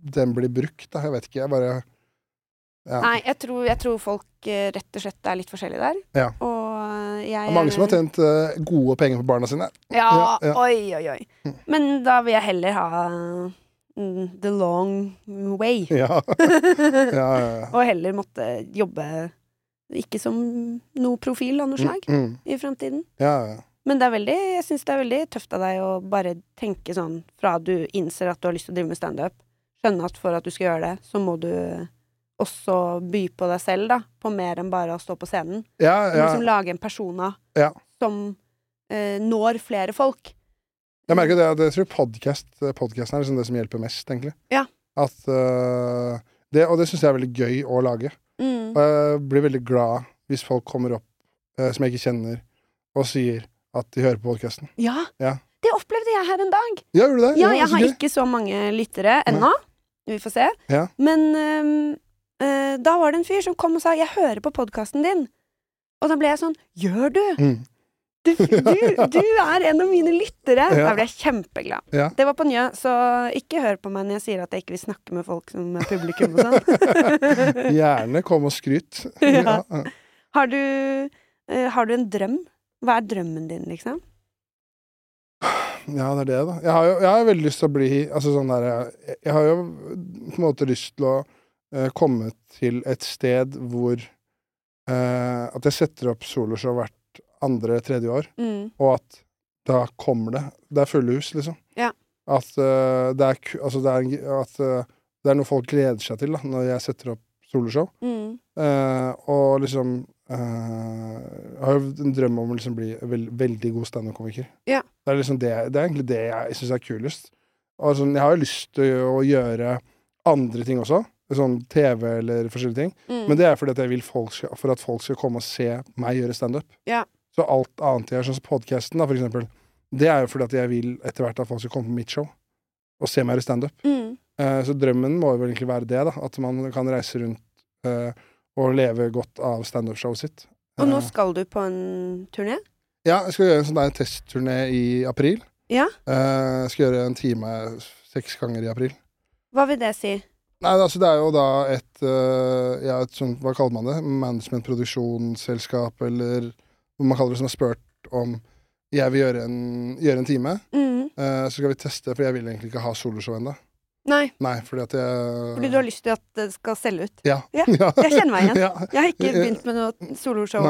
Speaker 2: Den blir brukt, da. Jeg vet ikke, jeg bare ja.
Speaker 1: Nei, jeg tror, jeg tror folk øh, rett og slett er litt forskjellige der.
Speaker 2: Ja.
Speaker 1: Og øh, jeg
Speaker 2: Det er mange som har tjent eh, gode penger på barna sine.
Speaker 1: Ja,
Speaker 2: Ja, Mm. ja.
Speaker 1: oi, oi, oi. Men da vil jeg heller ha mm, the long way.
Speaker 2: Ja. ja, ja, ja.
Speaker 1: Og heller måtte jobbe ikke som noe profil av noe slag
Speaker 2: Mm, mm.
Speaker 1: i fremtiden.
Speaker 2: Ja, ja.
Speaker 1: Men det er veldig, jeg syns det er veldig tøft av deg å bare tenke sånn fra du innser at du har lyst til å drive med standup, skjønne at for at du skal gjøre det, så må du også by på deg selv, da. På mer enn bare å stå på scenen.
Speaker 2: Ja,
Speaker 1: Du må liksom
Speaker 2: ja.
Speaker 1: lage en persona
Speaker 2: Ja.
Speaker 1: som eh, når flere folk.
Speaker 2: Jeg merker det, at jeg tror podcast, podcasten er liksom det som hjelper mest, egentlig.
Speaker 1: Ja.
Speaker 2: At, øh, det, og det syns jeg er veldig gøy å lage.
Speaker 1: Mm.
Speaker 2: Og jeg blir veldig glad hvis folk kommer opp øh, som jeg ikke kjenner, og sier at de hører på podkasten.
Speaker 1: Ja.
Speaker 2: Ja.
Speaker 1: Det opplevde jeg her en dag.
Speaker 2: Ja, gjør du det?
Speaker 1: Ja, jeg
Speaker 2: så
Speaker 1: har
Speaker 2: gøy.
Speaker 1: ikke så mange lyttere ennå. Vi får se.
Speaker 2: Ja.
Speaker 1: Men øhm, øh, da var det en fyr som kom og sa 'jeg hører på podkasten din'. Og da ble jeg sånn 'gjør du?
Speaker 2: Mm.
Speaker 1: Du, du, du er en av mine lyttere!'
Speaker 2: Ja.
Speaker 1: Da ble jeg kjempeglad.
Speaker 2: Ja.
Speaker 1: Det var på Njø, så ikke hør på meg når jeg sier at jeg ikke vil snakke med folk som er publikum og sånn.
Speaker 2: Gjerne kom og skryt.
Speaker 1: Ja.
Speaker 2: ja.
Speaker 1: Har, du, øh, har du en drøm? Hva er drømmen din, liksom?
Speaker 2: Ja, det er det, da. Jeg har jo jeg har veldig lyst til å bli altså sånn der, jeg, jeg har jo på en måte lyst til å eh, komme til et sted hvor eh, At jeg setter opp soloshow hvert andre-tredje år,
Speaker 1: Mm.
Speaker 2: og at da kommer det. Det er fulle hus, liksom.
Speaker 1: Ja.
Speaker 2: At, eh, det, er, ku- altså, det, er, en- at eh, det er noe folk gleder seg til da, når jeg setter opp soloshow.
Speaker 1: Mm.
Speaker 2: Eh, og liksom eh, Jeg har jo en drøm om å liksom bli vel- veldig god standup-komiker.
Speaker 1: Ja.
Speaker 2: Det, er liksom det, det er egentlig det jeg syns er kulest. Og sånn, jeg har jo lyst til å gjøre andre ting også, sånn TV eller forskjellige ting.
Speaker 1: Mm.
Speaker 2: Men det er fordi at jeg vil folk skal, for at folk skal komme og se meg gjøre standup.
Speaker 1: Ja.
Speaker 2: Så alt annet jeg gjør, sånn som podkasten, for eksempel, det er jo fordi at jeg vil etter hvert at folk skal komme på mitt show og se meg gjøre standup.
Speaker 1: Mm.
Speaker 2: Eh, så drømmen må jo vel egentlig være det, da. At man kan reise rundt eh, og leve godt av standup-showet sitt.
Speaker 1: Og nå
Speaker 2: Eh,
Speaker 1: skal du på en turné?
Speaker 2: ja, jeg skal gjøre en sånn der testturné i april.
Speaker 1: Ja.
Speaker 2: Eh, jeg skal gjøre en time seks ganger i april.
Speaker 1: Hva vil det si?
Speaker 2: Nei, altså det er jo da et, øh, ja, et sånt, hva kaller man det, management, produksjonsselskap, eller hva man kaller det, som har spurt om jeg vil gjøre en, gjøre en time,
Speaker 1: Mm.
Speaker 2: eh, så skal vi teste, for jeg vil egentlig ikke ha soloshow enda.
Speaker 1: Nei,
Speaker 2: Nei, fordi at jeg...
Speaker 1: fordi du har lyst til at det skal selge ut.
Speaker 2: Ja.
Speaker 1: Ja, Jeg kjenner meg igjen.
Speaker 2: ja.
Speaker 1: Jeg har ikke
Speaker 2: Jeg-
Speaker 1: begynt med noe soloshow.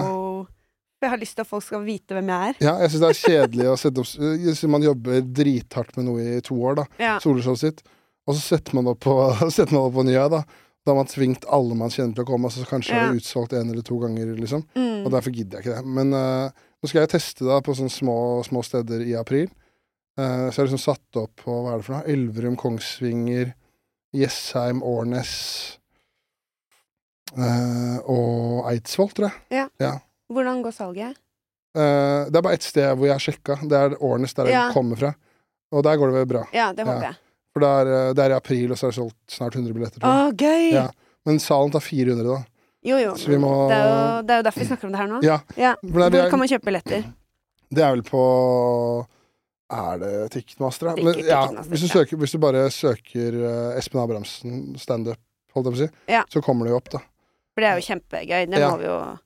Speaker 1: Jeg har lyst til at folk skal vite hvem jeg er.
Speaker 2: Ja, jeg synes det er kjedelig å sette opp, eh, jeg synes man jobber drithardt med noe i to år da,
Speaker 1: Ja.
Speaker 2: soloshowet sitt, og så setter man det opp på, setter man det opp på nye da, da har man tvingt alle man kjenner til å komme, altså kanskje
Speaker 1: Ja.
Speaker 2: er det utsolgt en eller to ganger, liksom. Og
Speaker 1: Mm.
Speaker 2: derfor gidder jeg ikke det. Men eh, nå skal jeg teste da på sånne små, små steder i april. Eh, så jeg har liksom satt opp på hva er det for noe? Elverum, Kongsvinger, Jessheim, Årnes eh, og Eidsvoll, tror jeg.
Speaker 1: Hvordan går salget?
Speaker 2: Eh, det er bare ett sted hvor jeg har sjekka. Det er Årnes, der jeg
Speaker 1: Ja.
Speaker 2: kommer fra. Og der går det vel bra.
Speaker 1: Ja, det håper
Speaker 2: Ja.
Speaker 1: jeg.
Speaker 2: For det er, eh, det er i april, og så er det solgt snart 100 billetter.
Speaker 1: Å,
Speaker 2: tror jeg.
Speaker 1: gøy!
Speaker 2: Ja. Men salen tar 400, da.
Speaker 1: Jo, jo.
Speaker 2: Så vi må-
Speaker 1: det, er jo, det er jo derfor vi snakker om det her nå.
Speaker 2: Ja. For det, er- vi
Speaker 1: Hvor
Speaker 2: er,
Speaker 1: kan man kjøpe billetter?
Speaker 2: Det er vel på Er det Ticketmaster? da?
Speaker 1: Ticket-
Speaker 2: Men, ja,
Speaker 1: Ticketmaster,
Speaker 2: hvis, du
Speaker 1: ja.
Speaker 2: søker, hvis du bare søker eh, Espen Abrahamsen standup, holdt jeg på å si,
Speaker 1: Ja.
Speaker 2: så kommer det jo opp, da.
Speaker 1: For det er jo kjempegøy. Det
Speaker 2: Ja.
Speaker 1: må vi jo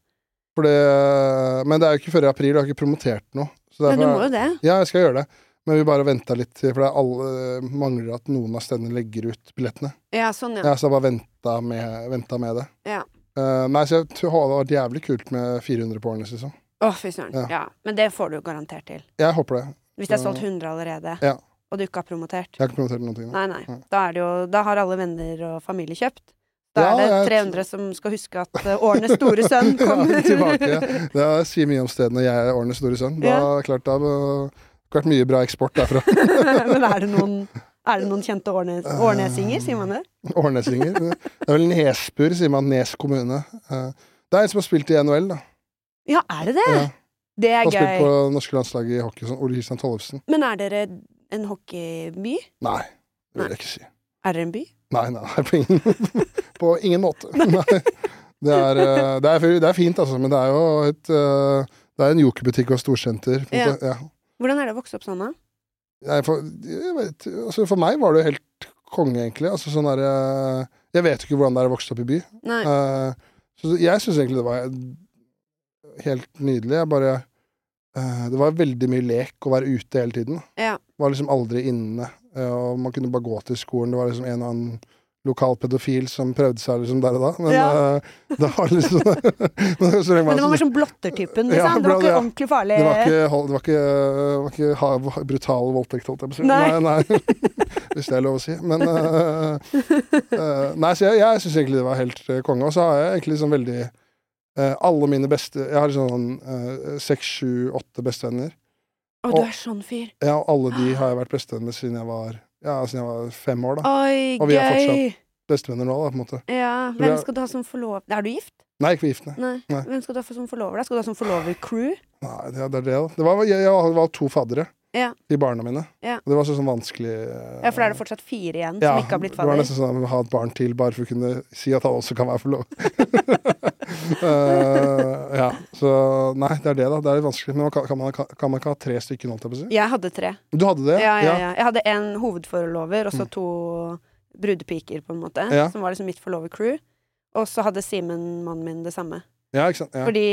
Speaker 2: For det, men det er jo ikke før i april, og jeg har ikke promotert noe. Så
Speaker 1: Men du
Speaker 2: derfor-
Speaker 1: må jo det.
Speaker 2: Ja, jeg skal gjøre det. Men vi bare venta litt, til- for det er alle mangler at noen av stedene legger ut billettene.
Speaker 1: Ja, sånn, ja.
Speaker 2: Ja, så jeg bare venta med, venta med det.
Speaker 1: Ja.
Speaker 2: Eh, nei, så jeg tror det hadde vært jævlig kult med 400 på Årnes, liksom.
Speaker 1: Å, fy søren.
Speaker 2: Ja.
Speaker 1: Ja. Men det får du jo garantert til.
Speaker 2: Jeg håper det.
Speaker 1: Hvis det er
Speaker 2: Så-
Speaker 1: solgt 100 allerede,
Speaker 2: Ja.
Speaker 1: og du ikke har promotert.
Speaker 2: Jeg har ikke promotert noen ting. nå.
Speaker 1: Nei, nei.
Speaker 2: Nei.
Speaker 1: Da, er det jo, da har alle venner og familie kjøpt. Da
Speaker 2: Ja,
Speaker 1: er det
Speaker 2: jeg-
Speaker 1: 300 som skal huske at eh, Årnes store sønn kommer.
Speaker 2: ja, tilbake. ja. Det er- sier mye om stedene jeg er årenes store sønn. Da
Speaker 1: Ja.
Speaker 2: klart det har øh, vært mye bra eksport derfra.
Speaker 1: Men er det noen, er det noen kjente årnes, årnesinger, sier man det?
Speaker 2: Årnesinger. Det er vel Nesbur, sier man. Nes kommune. Eh, Det er en som har spilt i NHL, da.
Speaker 1: Ja, er det det?
Speaker 2: Ja,
Speaker 1: Det
Speaker 2: han
Speaker 1: er
Speaker 2: har spilt
Speaker 1: gøy.
Speaker 2: på norske landslaget i hockey, sånn Ole Kristian Tollefsen.
Speaker 1: Men er dere en hockeyby?
Speaker 2: Nei, det vil jeg ikke si.
Speaker 1: Er dere en by?
Speaker 2: Nei, nei, nei, på ingen, på ingen måte. Nei. Det er, øh, det, er, det er fint, altså, men det er jo et øh, Det er en jokerbutikk og storsenter. På en
Speaker 1: Ja.
Speaker 2: måte. Ja.
Speaker 1: Hvordan er det å vokse opp sånn, da?
Speaker 2: Nei, for, jeg vet, altså for meg var det jo helt konge, egentlig. Altså sånn der, eh, jeg vet jo ikke hvordan det er å vokse opp i by.
Speaker 1: Nei.
Speaker 2: Eh, så jeg syns egentlig det var helt nydelig. Jeg bare eh, Det var veldig mye lek å være ute hele tiden.
Speaker 1: Ja.
Speaker 2: Var liksom aldri inne. eh, og man kunne bare gå til skolen. Det var liksom en og annen lokal pedofil som prøvde seg liksom der og da. Men
Speaker 1: Ja.
Speaker 2: eh, det var liksom Men så lenge man-
Speaker 1: Men det var mer sånn blottertypen, liksom.
Speaker 2: Ja,
Speaker 1: det var
Speaker 2: blant-
Speaker 1: ikke
Speaker 2: ja.
Speaker 1: ordentlig farlig.
Speaker 2: Det var ikke, hold- det var ikke, eh, det var ikke ha- brutal voldtekt, holdt jeg på å si.
Speaker 1: Nei.
Speaker 2: Nei, nei. Hvis det er lov å si. Men øh, øh, Nei, så jeg, jeg syns egentlig det var helt øh, konge. Og så har jeg egentlig sånn veldig øh, Alle mine beste Jeg har sånn øh, seks, sju, åtte bestevenner.
Speaker 1: Å, du er sånn fyr.
Speaker 2: Ja, og alle de har jeg vært bestevenner siden jeg var Ja, siden jeg var fem år, da.
Speaker 1: Oi,
Speaker 2: Og vi er
Speaker 1: gøy.
Speaker 2: Bestevenner nå, da, på en måte.
Speaker 1: Ja.
Speaker 2: vi
Speaker 1: Hvem
Speaker 2: er-
Speaker 1: skal du ha som forlover... Er du gift?
Speaker 2: Nei, ikke vi giftene.
Speaker 1: Nei.
Speaker 2: Nei.
Speaker 1: Hvem skal du ha for- som forlover deg? Skal du ha som forlover-crew?
Speaker 2: Nei, det, det er det, da. Det var, jeg, jeg var to faddere.
Speaker 1: Ja.
Speaker 2: De barna mine.
Speaker 1: Ja.
Speaker 2: Og Det var så sånn vanskelig øh,
Speaker 1: Ja, for da er det fortsatt fire igjen som ikke har blitt
Speaker 2: Det var
Speaker 1: fadder.
Speaker 2: nesten sånn at man må ha et barn til bare for å kunne si at han også kan være forlovet. Eh, ja, så nei, det er det, da. Det er litt vanskelig. Men man kan, kan, man, kan, kan man ikke ha tre stykker, holdt jeg på å si?
Speaker 1: Jeg hadde tre.
Speaker 2: Du hadde det?
Speaker 1: Ja, ja, ja. Jeg hadde en hovedforlover, og så to brudepiker, på en måte,
Speaker 2: Mm. Ja.
Speaker 1: som var liksom mitt forlover-crew. Og så hadde Simen, mannen min, det samme.
Speaker 2: Ja, ikke sant? Ja.
Speaker 1: Fordi,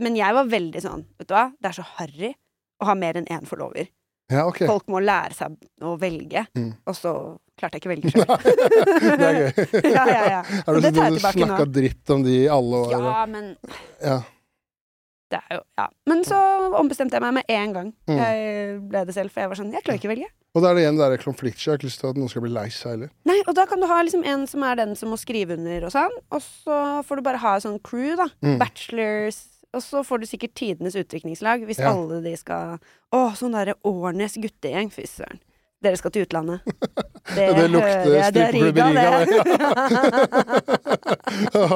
Speaker 1: men jeg var veldig sånn, vet du hva, det er så harry å ha mer enn én forlover.
Speaker 2: ja, ok.
Speaker 1: Folk må lære seg å velge,
Speaker 2: Mm.
Speaker 1: og så klarte jeg ikke å velge sjøl.
Speaker 2: det er gøy.
Speaker 1: ja, ja, ja.
Speaker 2: Har
Speaker 1: Så
Speaker 2: du
Speaker 1: det tar jeg
Speaker 2: sittet og
Speaker 1: tilbake nå.
Speaker 2: snakka dritt om de i alle år?
Speaker 1: Ja, men
Speaker 2: Ja.
Speaker 1: Det er jo, ja. Men så ombestemte jeg meg med en gang.
Speaker 2: Mm.
Speaker 1: Jeg ble det selv, for jeg var sånn Jeg klarer ikke å velge.
Speaker 2: Og da er det igjen det der konfliktsky. Jeg har ikke lyst til at noen skal bli lei seg heller.
Speaker 1: Nei, og da kan du ha liksom en som er den som må skrive under og sånn, og så får du bare ha sånn crew, da.
Speaker 2: Mm.
Speaker 1: Bachelors. Og så får du sikkert tidenes utviklingslag, hvis
Speaker 2: Ja.
Speaker 1: alle de skal Å, sånn derre Årnes guttegjeng, fy søren. Dere skal til utlandet. Det,
Speaker 2: Det lukter
Speaker 1: hører jeg. Det er
Speaker 2: strippeklubb i Riga,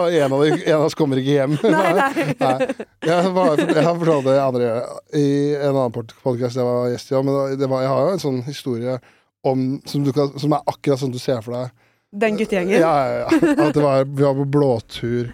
Speaker 1: det.
Speaker 2: en, av de, en av oss kommer ikke hjem.
Speaker 1: nei, nei.
Speaker 2: Nei. Jeg, var, jeg har fortalt det andre i en annen podkast jeg var gjest i, ja, men det var, jeg har jo en sånn historie om, som, du kan, som er akkurat sånn du ser for deg.
Speaker 1: Den guttegjengen.
Speaker 2: Ja, ja, ja. At det var, vi var på blåtur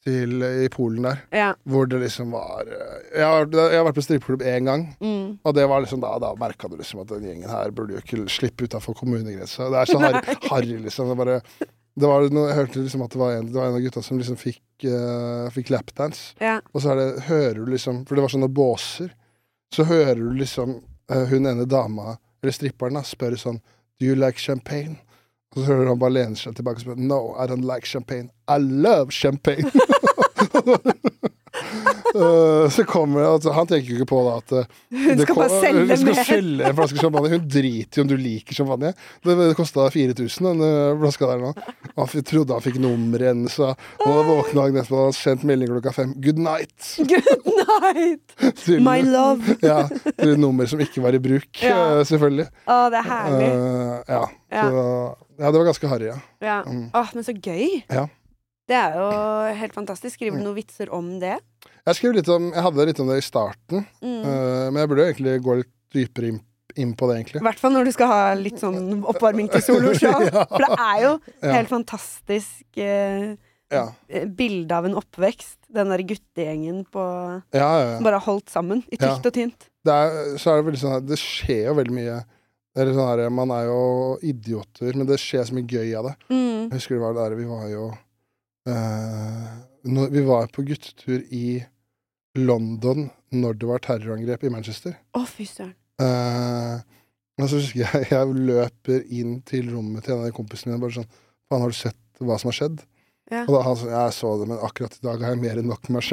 Speaker 2: til, i Polen der,
Speaker 1: Ja.
Speaker 2: hvor det liksom var Jeg har, jeg har vært på strippeklubb én gang,
Speaker 1: Mm.
Speaker 2: og det var liksom da, da merka du liksom at den gjengen her burde jo ikke slippe utafor kommunegrensa. Det er så harry, harry liksom. Det bare, det var, noe- jeg hørte liksom at det var en, det var en av gutta som liksom fikk, eh, fikk lapdance.
Speaker 1: ja.
Speaker 2: Og så er det, hører du liksom For det var sånne båser. Så hører du liksom eh, hun ene dama, eller stripperen, da, spør sånn Do you like champagne? Og så hører du han bare lener seg tilbake og spør No, I don't like champagne. I love champagne! Eh, så kommer det altså, Han tenker jo ikke på da at eh,
Speaker 1: Hun
Speaker 2: det
Speaker 1: skal bare
Speaker 2: kom-
Speaker 1: selge
Speaker 2: Hun skal
Speaker 1: mer.
Speaker 2: selge en flaske champagne. Hun driter i om du liker champagne. Det, det kosta 4000, den eh, flaska der nå. Han f trodde han fikk nummeret hennes. og Han våkna dagen etterpå og hadde sendt melding klokka fem. Good night!
Speaker 1: Good night,
Speaker 2: Til,
Speaker 1: my love.
Speaker 2: ja, til et nummer som ikke var i bruk,
Speaker 1: Ja.
Speaker 2: eh, selvfølgelig.
Speaker 1: Å, det er herlig.
Speaker 2: Eh, ja. Så, ja, det var ganske harry, ja.
Speaker 1: Ja.
Speaker 2: Mm.
Speaker 1: Åh, men så gøy!
Speaker 2: Ja. Mm.
Speaker 1: Det er jo helt fantastisk. Skriver du noen vitser om det?
Speaker 2: Jeg, skrev litt om, jeg hadde litt om det i starten,
Speaker 1: Mm.
Speaker 2: eh, men jeg burde jo egentlig gå litt dypere inn, inn på det,
Speaker 1: I
Speaker 2: egentlig.
Speaker 1: hvert fall når du skal ha litt sånn oppvarming til soloshow.
Speaker 2: Ja.
Speaker 1: For det er jo
Speaker 2: Ja.
Speaker 1: helt fantastisk eh,
Speaker 2: Ja,
Speaker 1: bilde av en oppvekst. Den der guttegjengen på
Speaker 2: ja, ja. ja.
Speaker 1: Bare holdt sammen i tykt og tynt.
Speaker 2: det er, så er det veldig sånn her- Det skjer jo veldig mye. Eller sånn her, man er jo idioter, men det skjer så mye gøy av det.
Speaker 1: Mm.
Speaker 2: Jeg husker det var der vi var jo eh, når, Vi var på guttetur i London når det var terrorangrep i Manchester.
Speaker 1: Å, fy søren.
Speaker 2: Eh, og så husker jeg jeg løper inn til rommet til en av de kompisene mine bare sånn Faen, har du sett hva som har skjedd?
Speaker 1: Ja.
Speaker 2: Og da han sånn Jeg så det, men akkurat i dag har jeg mer enn nok med meg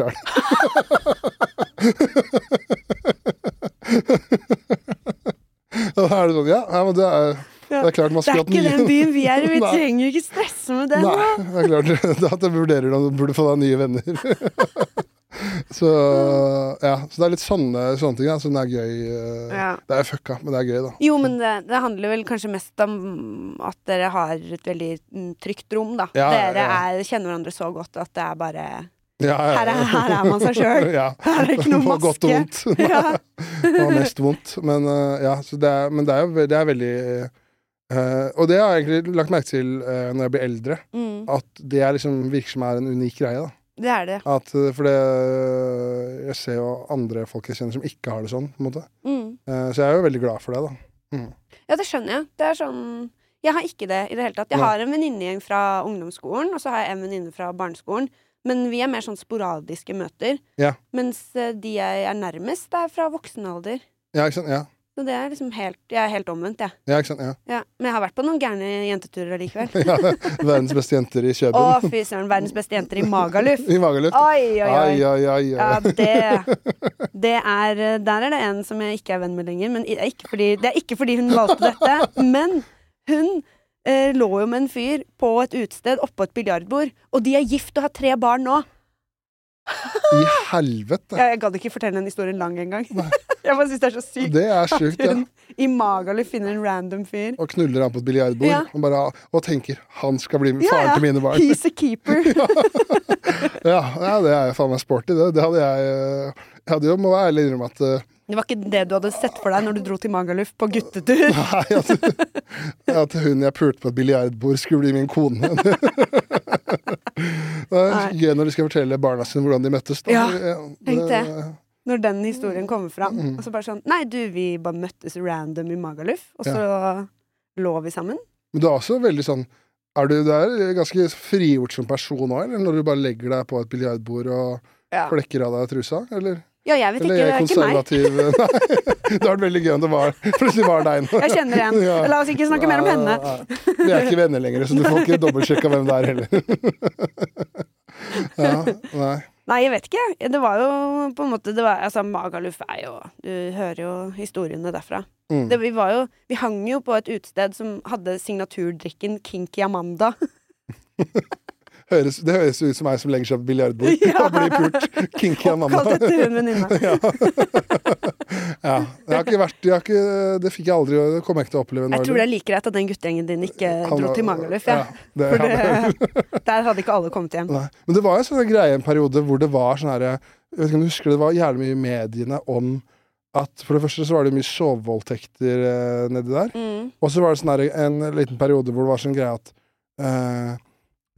Speaker 2: sjæl. Og da er det sånn Ja, ja men det er, det er klart man
Speaker 1: Det er
Speaker 2: skulle hatt
Speaker 1: ikke den
Speaker 2: nye
Speaker 1: byen vi er i! Vi
Speaker 2: Nei.
Speaker 1: trenger jo ikke stresse med den!
Speaker 2: Nei, det er klart at jeg vurderer om du burde få deg nye venner. så ja, så det er litt sånne, sånne ting da, som er gøy. eh,
Speaker 1: Ja.
Speaker 2: Det er fucka, men det er gøy, da.
Speaker 1: Jo, men det, det handler vel kanskje mest om at dere har et veldig mm, trygt rom, da.
Speaker 2: Ja, ja,
Speaker 1: dere
Speaker 2: ja.
Speaker 1: er, kjenner hverandre så godt at det er bare
Speaker 2: Ja, ja, ja.
Speaker 1: Her er, her er man seg sjøl.
Speaker 2: ja.
Speaker 1: Her er det ikke noe
Speaker 2: Det var
Speaker 1: maske.
Speaker 2: Godt og vondt.
Speaker 1: Ja.
Speaker 2: Det var mest vondt. Men, eh, ja, så det er, men det er jo ve- det er veldig eh, Og det har jeg egentlig lagt merke til eh, når jeg blir eldre,
Speaker 1: Mm,
Speaker 2: at det er liksom virker som er en unik greie. da
Speaker 1: det er det.
Speaker 2: at, eh, For det Jeg ser jo andre folk jeg kjenner som ikke har det sånn, på en måte.
Speaker 1: Mm.
Speaker 2: Eh, så jeg er jo veldig glad for det, da.
Speaker 1: Ja, det skjønner jeg. Det er sånn Jeg har ikke det i det hele tatt. Jeg
Speaker 2: Nei.
Speaker 1: har en venninnegjeng fra ungdomsskolen, og så har jeg en venninne fra barneskolen. Men vi er mer sånn sporadiske møter.
Speaker 2: Ja.
Speaker 1: Mens eh, de jeg er nærmest, er fra voksen alder.
Speaker 2: Ja, ikke sant? Ja.
Speaker 1: Så det er liksom helt Jeg er helt omvendt, jeg.
Speaker 2: Ja, ikke sant? Ja.
Speaker 1: Ja. Men jeg har vært på noen gærne jenteturer allikevel.
Speaker 2: ja. Verdens beste jenter i
Speaker 1: Å,
Speaker 2: Kjøben.
Speaker 1: fy søren. Verdens beste jenter i Magaluf.
Speaker 2: I Magaluf.
Speaker 1: Oi, oi,
Speaker 2: Ai,
Speaker 1: oi.
Speaker 2: ai, ai.
Speaker 1: Ja,
Speaker 2: ai.
Speaker 1: det, det er eh, Der er det en som jeg ikke er venn med lenger. Men i- ikke fordi, det er ikke fordi hun valgte dette. Men hun eh, lå jo med en fyr på et utested oppå et biljardbord. Og de er gift og har tre barn nå.
Speaker 2: I helvete!
Speaker 1: Jeg, jeg gadd ikke fortelle den historien lang engang.
Speaker 2: Nei.
Speaker 1: Jeg bare syns det er så sykt.
Speaker 2: Det er sjukt,
Speaker 1: at
Speaker 2: ja.
Speaker 1: hun i Magaluf finner en random fyr.
Speaker 2: Og knuller han på et biljardbord
Speaker 1: Ja.
Speaker 2: og, bare, og tenker 'han skal bli
Speaker 1: Ja,
Speaker 2: faren
Speaker 1: ja.
Speaker 2: til mine barn'.
Speaker 1: He's a keeper.
Speaker 2: Ja, ja, det er jo faen meg sporty, det. Det hadde jeg eh, Jeg hadde jo, må være ærlig innrømme at eh,
Speaker 1: Det var ikke det du hadde sett for deg når du dro til Magaluf på guttetur.
Speaker 2: Nei, at, at hun jeg pulte på et biljardbord, skulle bli min kone. det er gøy når de skal fortelle barna sine hvordan de møttes. Da.
Speaker 1: Ja,
Speaker 2: det,
Speaker 1: tenk det. Når den
Speaker 2: Mm.
Speaker 1: historien kommer fram. Og så bare sånn Nei, du, vi bare møttes random i Magaluf, og så lå vi sammen.
Speaker 2: Men du er også veldig sånn er du, du er ganske frigjort som person òg, eller? Når du bare legger deg på et biljardbord og
Speaker 1: Ja,
Speaker 2: flekker av deg trusa? Eller,
Speaker 1: ja jeg vet
Speaker 2: eller
Speaker 1: ikke. Det
Speaker 2: er
Speaker 1: er
Speaker 2: jeg
Speaker 1: ikke meg.
Speaker 2: konservativ? Nei. Det hadde vært veldig gøy om det var plutselig var deg nå.
Speaker 1: Jeg kjenner en.
Speaker 2: Ja.
Speaker 1: La oss ikke snakke mer om henne.
Speaker 2: Nei, nei, nei. Vi er ikke venner lenger, så du får ikke dobbeltsjekka hvem det er heller. ja, nei.
Speaker 1: Nei, jeg vet ikke. Det var jo på en måte det var, altså, Magaluf er jo Du hører jo historiene derfra.
Speaker 2: Mm.
Speaker 1: Det, vi, var jo, vi hang jo på et utested som hadde signaturdrikken Kinky Amanda.
Speaker 2: Høres, det høres ut som meg som legger seg på biljardbord
Speaker 1: Ja.
Speaker 2: og blir pult. Kinky Amanda.
Speaker 1: Oppkalt etter hun venninna.
Speaker 2: ja. ja. Jeg har ikke vært jeg har ikke, Det fikk jeg aldri Det kommer jeg ikke til å oppleve. nå,
Speaker 1: Jeg tror det er like greit at den guttegjengen din ikke
Speaker 2: Han
Speaker 1: dro
Speaker 2: var-
Speaker 1: til Magaluf. Ja.
Speaker 2: det,
Speaker 1: For
Speaker 2: ja, det-
Speaker 1: det, der hadde ikke alle kommet hjem.
Speaker 2: Nei. Men det var jo en sånn greie en periode hvor det var sånn herre Jeg vet ikke om du husker det, det var jævlig mye i mediene om at For det første så var det mye sovevoldtekter eh, nedi der.
Speaker 1: Mm.
Speaker 2: Og så var det sånn herre en liten periode hvor det var sånn greie at eh,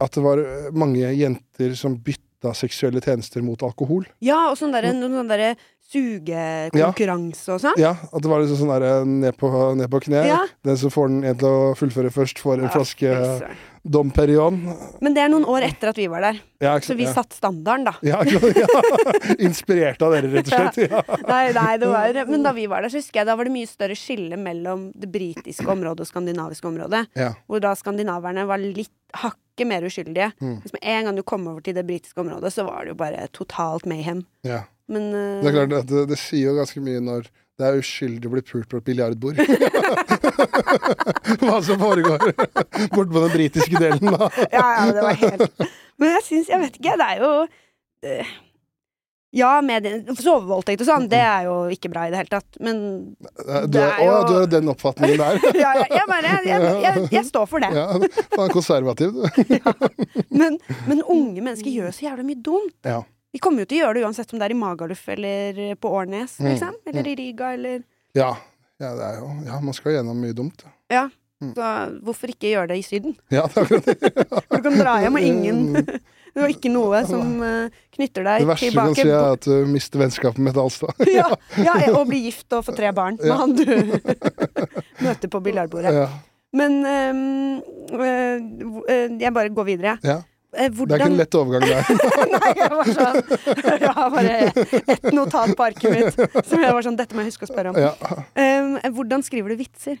Speaker 2: At det var eh, mange jenter som bytta seksuelle tjenester mot alkohol.
Speaker 1: Ja, og sånn derre noen sånn derre sugekonkurranse og sånn.
Speaker 2: Ja, At det var liksom sånn derre ned, på- ned på kne.
Speaker 1: Ja.
Speaker 2: Den som får den en til å fullføre først, får en
Speaker 1: Ja,
Speaker 2: flaske
Speaker 1: fy søren.
Speaker 2: Dom Perignon.
Speaker 1: Men det er noen år etter at vi var der,
Speaker 2: Ja, ikke
Speaker 1: så
Speaker 2: sant?
Speaker 1: vi
Speaker 2: Ja.
Speaker 1: satt standarden, da.
Speaker 2: Ja, ikke sant? ja. Inspirert av dere, rett og slett. Ja.
Speaker 1: Nei, nei, det var, men da vi var der, så husker jeg da var det mye større skille mellom det britiske området og skandinaviske området.
Speaker 2: Ja.
Speaker 1: Hvor da skandinaverne var litt hakket mer uskyldige.
Speaker 2: Mm.
Speaker 1: Hvis med en gang du kom over til det britiske området, så var det jo bare totalt mayhem.
Speaker 2: ja.
Speaker 1: Men eh,
Speaker 2: Det er klart at det, det sier jo ganske mye når det er uskyldig å bli pult på et biljardbord. Hva som foregår borte på den britiske delen, da.
Speaker 1: ja, ja, det var helt Men jeg syns Jeg vet ikke, det er jo eh, Ja, medien Sovevoldtekt og sånn, det er jo ikke bra i det hele tatt. Men
Speaker 2: Du
Speaker 1: Det
Speaker 2: er,
Speaker 1: er
Speaker 2: å ja,
Speaker 1: jo-
Speaker 2: du er den oppfatningen der.
Speaker 1: ja, jeg, jeg bare jeg, jeg, jeg står for det.
Speaker 2: Ja, faen konservativ, du.
Speaker 1: Men, men unge mennesker gjør så jævlig mye dumt.
Speaker 2: Ja.
Speaker 1: Vi kommer jo til å gjøre det uansett om det er i Magaluf eller på Årnes,
Speaker 2: Mm.
Speaker 1: liksom. Eller i Riga, eller
Speaker 2: Ja. Ja, det er jo, ja, man skal gjennom mye dumt.
Speaker 1: Ja. Så hvorfor ikke gjøre det i Syden?
Speaker 2: Ja, det er akkurat det.
Speaker 1: For du kan dra hjem, og ingen Det var ikke noe som eh, knytter
Speaker 2: Det
Speaker 1: deg
Speaker 2: verste du kan
Speaker 1: tilbake.
Speaker 2: si, er at du mister vennskapet med Dalstad.
Speaker 1: ja, ja, og bli gift og få tre barn med
Speaker 2: Ja.
Speaker 1: han du møter på biljardbordet.
Speaker 2: Ja,
Speaker 1: Men ehm, eh, hvor- eh, jeg bare går videre, jeg.
Speaker 2: ja.
Speaker 1: Eh,
Speaker 2: Det er ikke
Speaker 1: hvordan
Speaker 2: en lett overgang der.
Speaker 1: Nei, jeg var sånn Jeg har bare et notat på arket mitt som jeg var sånn Dette må jeg huske å spørre om.
Speaker 2: Ja.
Speaker 1: Ehm, hvordan skriver du vitser?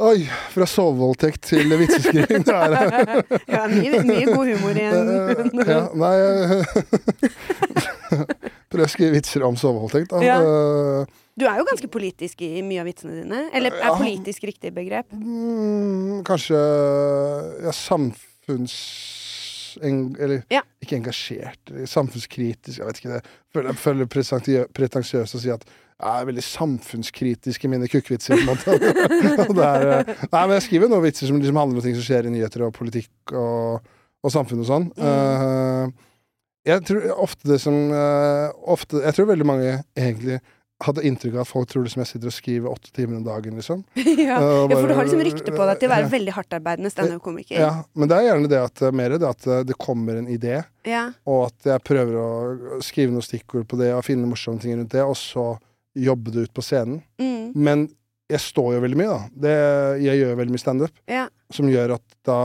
Speaker 2: Oi, fra sovevoldtekt til vitseskriving. Det er
Speaker 1: ja, mye, mye god humor i en
Speaker 2: Eh, ja, nei eh, Prøv å skrive vitser om sovevoldtekt, da.
Speaker 1: Ja.
Speaker 2: Eh,
Speaker 1: Du er jo ganske politisk i mye av vitsene dine. Eller er
Speaker 2: Ja.
Speaker 1: politisk riktig begrep?
Speaker 2: mm, kanskje ja, samfunns... En, eller
Speaker 1: Ja.
Speaker 2: ikke engasjert, samfunnskritisk Jeg vet ikke det. Føler, føler pretensiø- pretensiøst å si at jeg er veldig samfunnskritisk i mine kukkvitser. på en måte. Og det er, eh, nei, men jeg skriver jo noen vitser som liksom handler om ting som skjer i nyheter og politikk og, og samfunn og sånn. Eh, jeg tror ofte det som eh, ofte, Jeg tror veldig mange egentlig hadde inntrykk av at folk tror det som jeg sitter og skriver åtte timer om dagen, liksom.
Speaker 1: ja. ja,
Speaker 2: Eh, og
Speaker 1: for du
Speaker 2: bare-
Speaker 1: har liksom rykte på deg til å være
Speaker 2: Ja.
Speaker 1: veldig hardtarbeidende standup-komiker.
Speaker 2: Ja, men det er gjerne det at eh, mer det at eh, det kommer en idé,
Speaker 1: Ja.
Speaker 2: og at jeg prøver å skrive noen stikkord på det og finne morsomme ting rundt det, og så jobbe det ut på scenen.
Speaker 1: Mm.
Speaker 2: Men jeg står jo veldig mye, da. Det, jeg gjør veldig mye standup,
Speaker 1: Ja.
Speaker 2: som gjør at da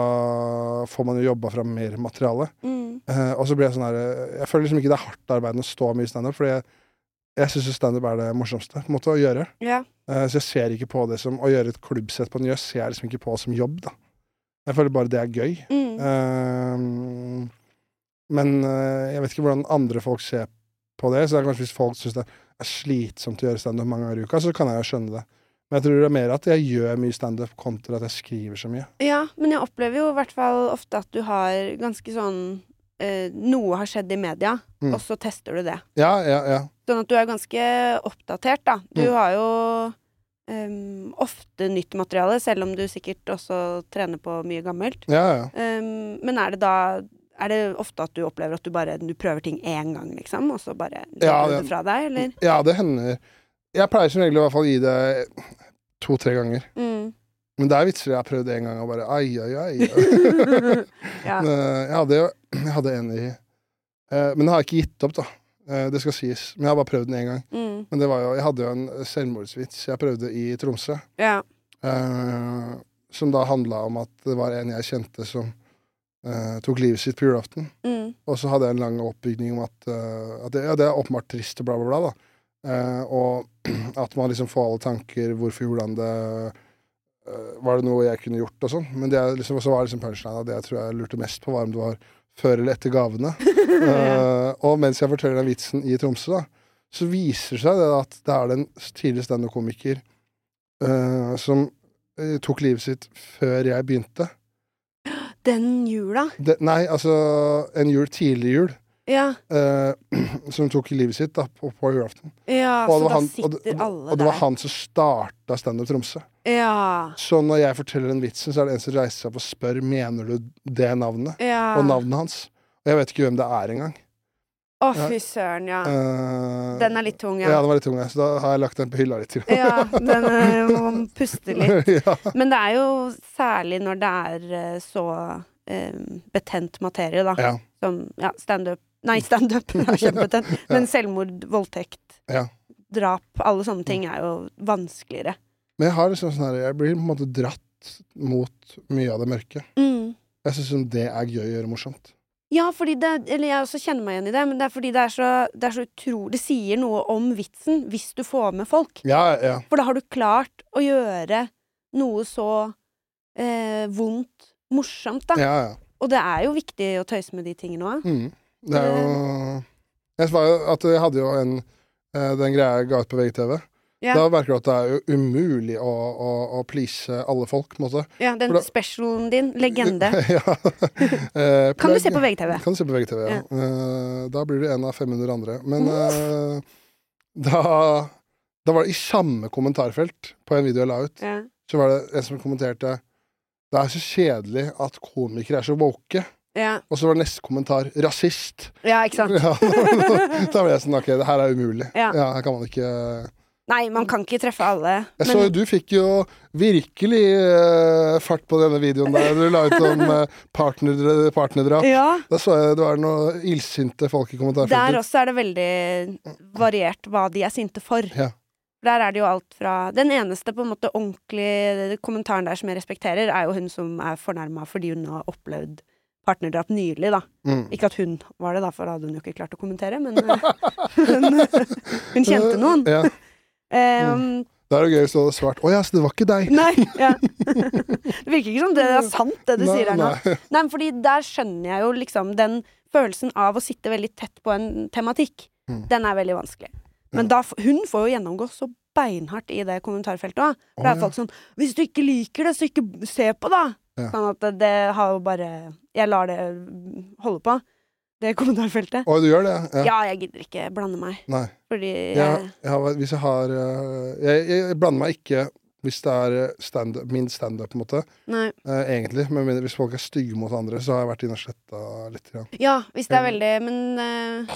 Speaker 2: får man jo jobba fram mer materiale.
Speaker 1: Mm.
Speaker 2: Eh, og så blir jeg sånn her eh, Jeg føler liksom ikke det er hardt arbeid å stå mye i standup, fordi jeg, jeg syns standup er det morsomste på en måte, å gjøre.
Speaker 1: ja.
Speaker 2: Eh, så jeg ser ikke på det som Å gjøre et klubbsett på en jøss ser jeg liksom ikke på som jobb, da. Jeg føler bare det er gøy.
Speaker 1: Mm.
Speaker 2: Ehm, men eh, jeg vet ikke hvordan andre folk ser på det. Så det er kanskje Hvis folk syns det er slitsomt å gjøre standup mange ganger i uka, så kan jeg jo skjønne det. Men jeg tror det er mer at jeg gjør mye standup kontra at jeg skriver så mye.
Speaker 1: Ja, men jeg opplever jo i hvert fall ofte at du har ganske sånn eh, Noe har skjedd i media,
Speaker 2: Mm.
Speaker 1: og så tester du det.
Speaker 2: Ja, ja, ja.
Speaker 1: Sånn at du er ganske oppdatert, da. Du
Speaker 2: Mm.
Speaker 1: har jo em, ofte nytt materiale, selv om du sikkert også trener på mye gammelt.
Speaker 2: ja, ja.
Speaker 1: Em, men er det da er det ofte at du opplever at du bare du prøver ting én gang, liksom, og så bare legger
Speaker 2: Ja,
Speaker 1: du
Speaker 2: det-
Speaker 1: det fra deg, eller?
Speaker 2: Ja, det hender. Jeg pleier som regel å i hvert fall gi det to-tre ganger.
Speaker 1: Mm.
Speaker 2: Men det er vitser jeg har prøvd en gang og bare ai, ai, ai.
Speaker 1: Ja.
Speaker 2: Men, eh, Jeg hadde, jo, jeg hadde en i eh, Men den har jeg ikke gitt opp, da. Eh, Det skal sies. Men jeg har bare prøvd den én gang.
Speaker 1: Mm.
Speaker 2: Men det var jo, jeg hadde jo en selvmordsvits jeg prøvde i Tromsø,
Speaker 1: ja.
Speaker 2: eh, som da handla om at det var en jeg kjente som eh, tok livet sitt på julaften.
Speaker 1: Mm.
Speaker 2: Og så hadde jeg en lang oppbygning om at, eh, at det, ja, det er åpenbart trist og bla, bla, bla. da. Eh, og at man liksom får alle tanker Hvorfor gjorde han det? eh, var det noe jeg kunne gjort? og sånn. Men det er liksom, så var liksom punchline at det jeg tror jeg lurte mest på, var om det var før eller etter gavene. Eh, og mens jeg forteller den vitsen i Tromsø, da, så viser det seg det at det er en tidligere standup-komiker eh, som eh, tok livet sitt før jeg begynte.
Speaker 1: Den jula.
Speaker 2: Det, nei, altså en jul tidlig jul,
Speaker 1: Ja.
Speaker 2: eh, som tok livet sitt da, på, på julaften.
Speaker 1: ja
Speaker 2: Og
Speaker 1: så
Speaker 2: det var
Speaker 1: da
Speaker 2: han- og det-
Speaker 1: sitter alle
Speaker 2: Og det var
Speaker 1: der.
Speaker 2: han som starta standup Tromsø.
Speaker 1: Ja.
Speaker 2: Så når jeg forteller den vitsen, så er det en som reiser seg opp og spør mener du det navnet.
Speaker 1: ja.
Speaker 2: Og navnet hans. Og jeg vet ikke hvem det er engang.
Speaker 1: Å,
Speaker 2: Ja.
Speaker 1: fy søren, ja.
Speaker 2: Eh,
Speaker 1: Ah. Den er litt tung,
Speaker 2: ja.
Speaker 1: ja.
Speaker 2: den var litt tung, jeg, så da har jeg lagt den på hylla litt. Til.
Speaker 1: Ja, den eh, må man puste litt.
Speaker 2: ja.
Speaker 1: Men det er jo særlig når det er eh, så eh, betent materie, da.
Speaker 2: Ja.
Speaker 1: Som ja, standup Nei, standup er kjempebetent, men selvmord, voldtekt,
Speaker 2: Ja.
Speaker 1: drap Alle sånne ting er jo vanskeligere.
Speaker 2: Men jeg har liksom sånn her, jeg blir på en måte dratt mot mye av det mørke. Jeg syns det er gøy å gjøre morsomt.
Speaker 1: Ja, fordi det Eller jeg også kjenner meg igjen i det, men det er fordi det er så, det er så utrolig Det sier noe om vitsen hvis du får med folk.
Speaker 2: Ja, ja.
Speaker 1: For da har du klart å gjøre noe så eh, vondt morsomt, da.
Speaker 2: ja, ja.
Speaker 1: Og det er jo viktig å tøyse med de tingene òg.
Speaker 2: Mm. Det er jo Jeg svarer jo at jeg hadde jo en eh, den greia jeg ga ut på VGTV.
Speaker 1: Ja.
Speaker 2: Da merker du at det er jo umulig å, å, å please alle folk, på en måte.
Speaker 1: Ja, den
Speaker 2: For da-
Speaker 1: specialen din, legende.
Speaker 2: ja. Eh,
Speaker 1: Kan du
Speaker 2: plugg.
Speaker 1: se på VGTV?
Speaker 2: Kan du se på VGTV, ja. Eh, da blir du en av 500 andre. Men eh, da, da var det i samme kommentarfelt på en video jeg la ut,
Speaker 1: Ja.
Speaker 2: så var det en som kommenterte det er så kjedelig at komikere er så woke.
Speaker 1: Ja.
Speaker 2: Og så var neste kommentar rasist.
Speaker 1: ja, ikke sant?
Speaker 2: Ja, da ble jeg sånn Ok, det her er umulig.
Speaker 1: Ja.
Speaker 2: her kan man ikke
Speaker 1: Nei, man kan ikke treffe alle.
Speaker 2: Jeg så jo du fikk jo virkelig eh, fart på denne videoen der du la ut om eh, partner, partnerdrap.
Speaker 1: ja,
Speaker 2: Da så jeg det var noen illsinte folk i
Speaker 1: der
Speaker 2: kommentarfeltet.
Speaker 1: også er det veldig variert hva de er sinte for.
Speaker 2: Ja.
Speaker 1: Der er det jo alt fra Den eneste på en måte ordentlige kommentaren der som jeg respekterer, er jo hun som er fornærma fordi hun har opplevd partnerdrap nylig, da.
Speaker 2: Mm.
Speaker 1: Ikke at hun var det, da, for da hadde hun jo ikke klart å kommentere, men Hun, hun kjente noen.
Speaker 2: Ja.
Speaker 1: Ehm,
Speaker 2: Da er det gøy hvis du hadde svart 'Å ja, så det var ikke deg'.
Speaker 1: Nei, ja. Det virker ikke som det er sant, det du
Speaker 2: Nei,
Speaker 1: sier her nå.
Speaker 2: nei.
Speaker 1: Nei, men fordi der skjønner jeg jo liksom den følelsen av å sitte veldig tett på en tematikk.
Speaker 2: Mm.
Speaker 1: Den er veldig vanskelig. Men da, f- hun får jo gjennomgå så beinhardt i det kommentarfeltet òg. For det
Speaker 2: Å,
Speaker 1: er
Speaker 2: ja.
Speaker 1: folk sånn 'Hvis du ikke liker det, så ikke b- se på, da'.
Speaker 2: Ja.
Speaker 1: Sånn at det- det har jo bare Jeg lar det holde på, det kommentarfeltet.
Speaker 2: Å, du gjør det? Ja.
Speaker 1: Ja, jeg gidder ikke blande meg.
Speaker 2: Nei.
Speaker 1: Fordi jeg,
Speaker 2: Jeg, jeg, har, hvis jeg, har, øh, jeg, jeg blander meg ikke hvis det er øh, stand min standup, på en måte.
Speaker 1: Nei.
Speaker 2: Eh, egentlig. Men mindre- hvis folk er stygge mot andre, så har jeg vært inne og sletta litt. Grann.
Speaker 1: Ja, hvis
Speaker 2: Mm.
Speaker 1: det er veldig Men eh,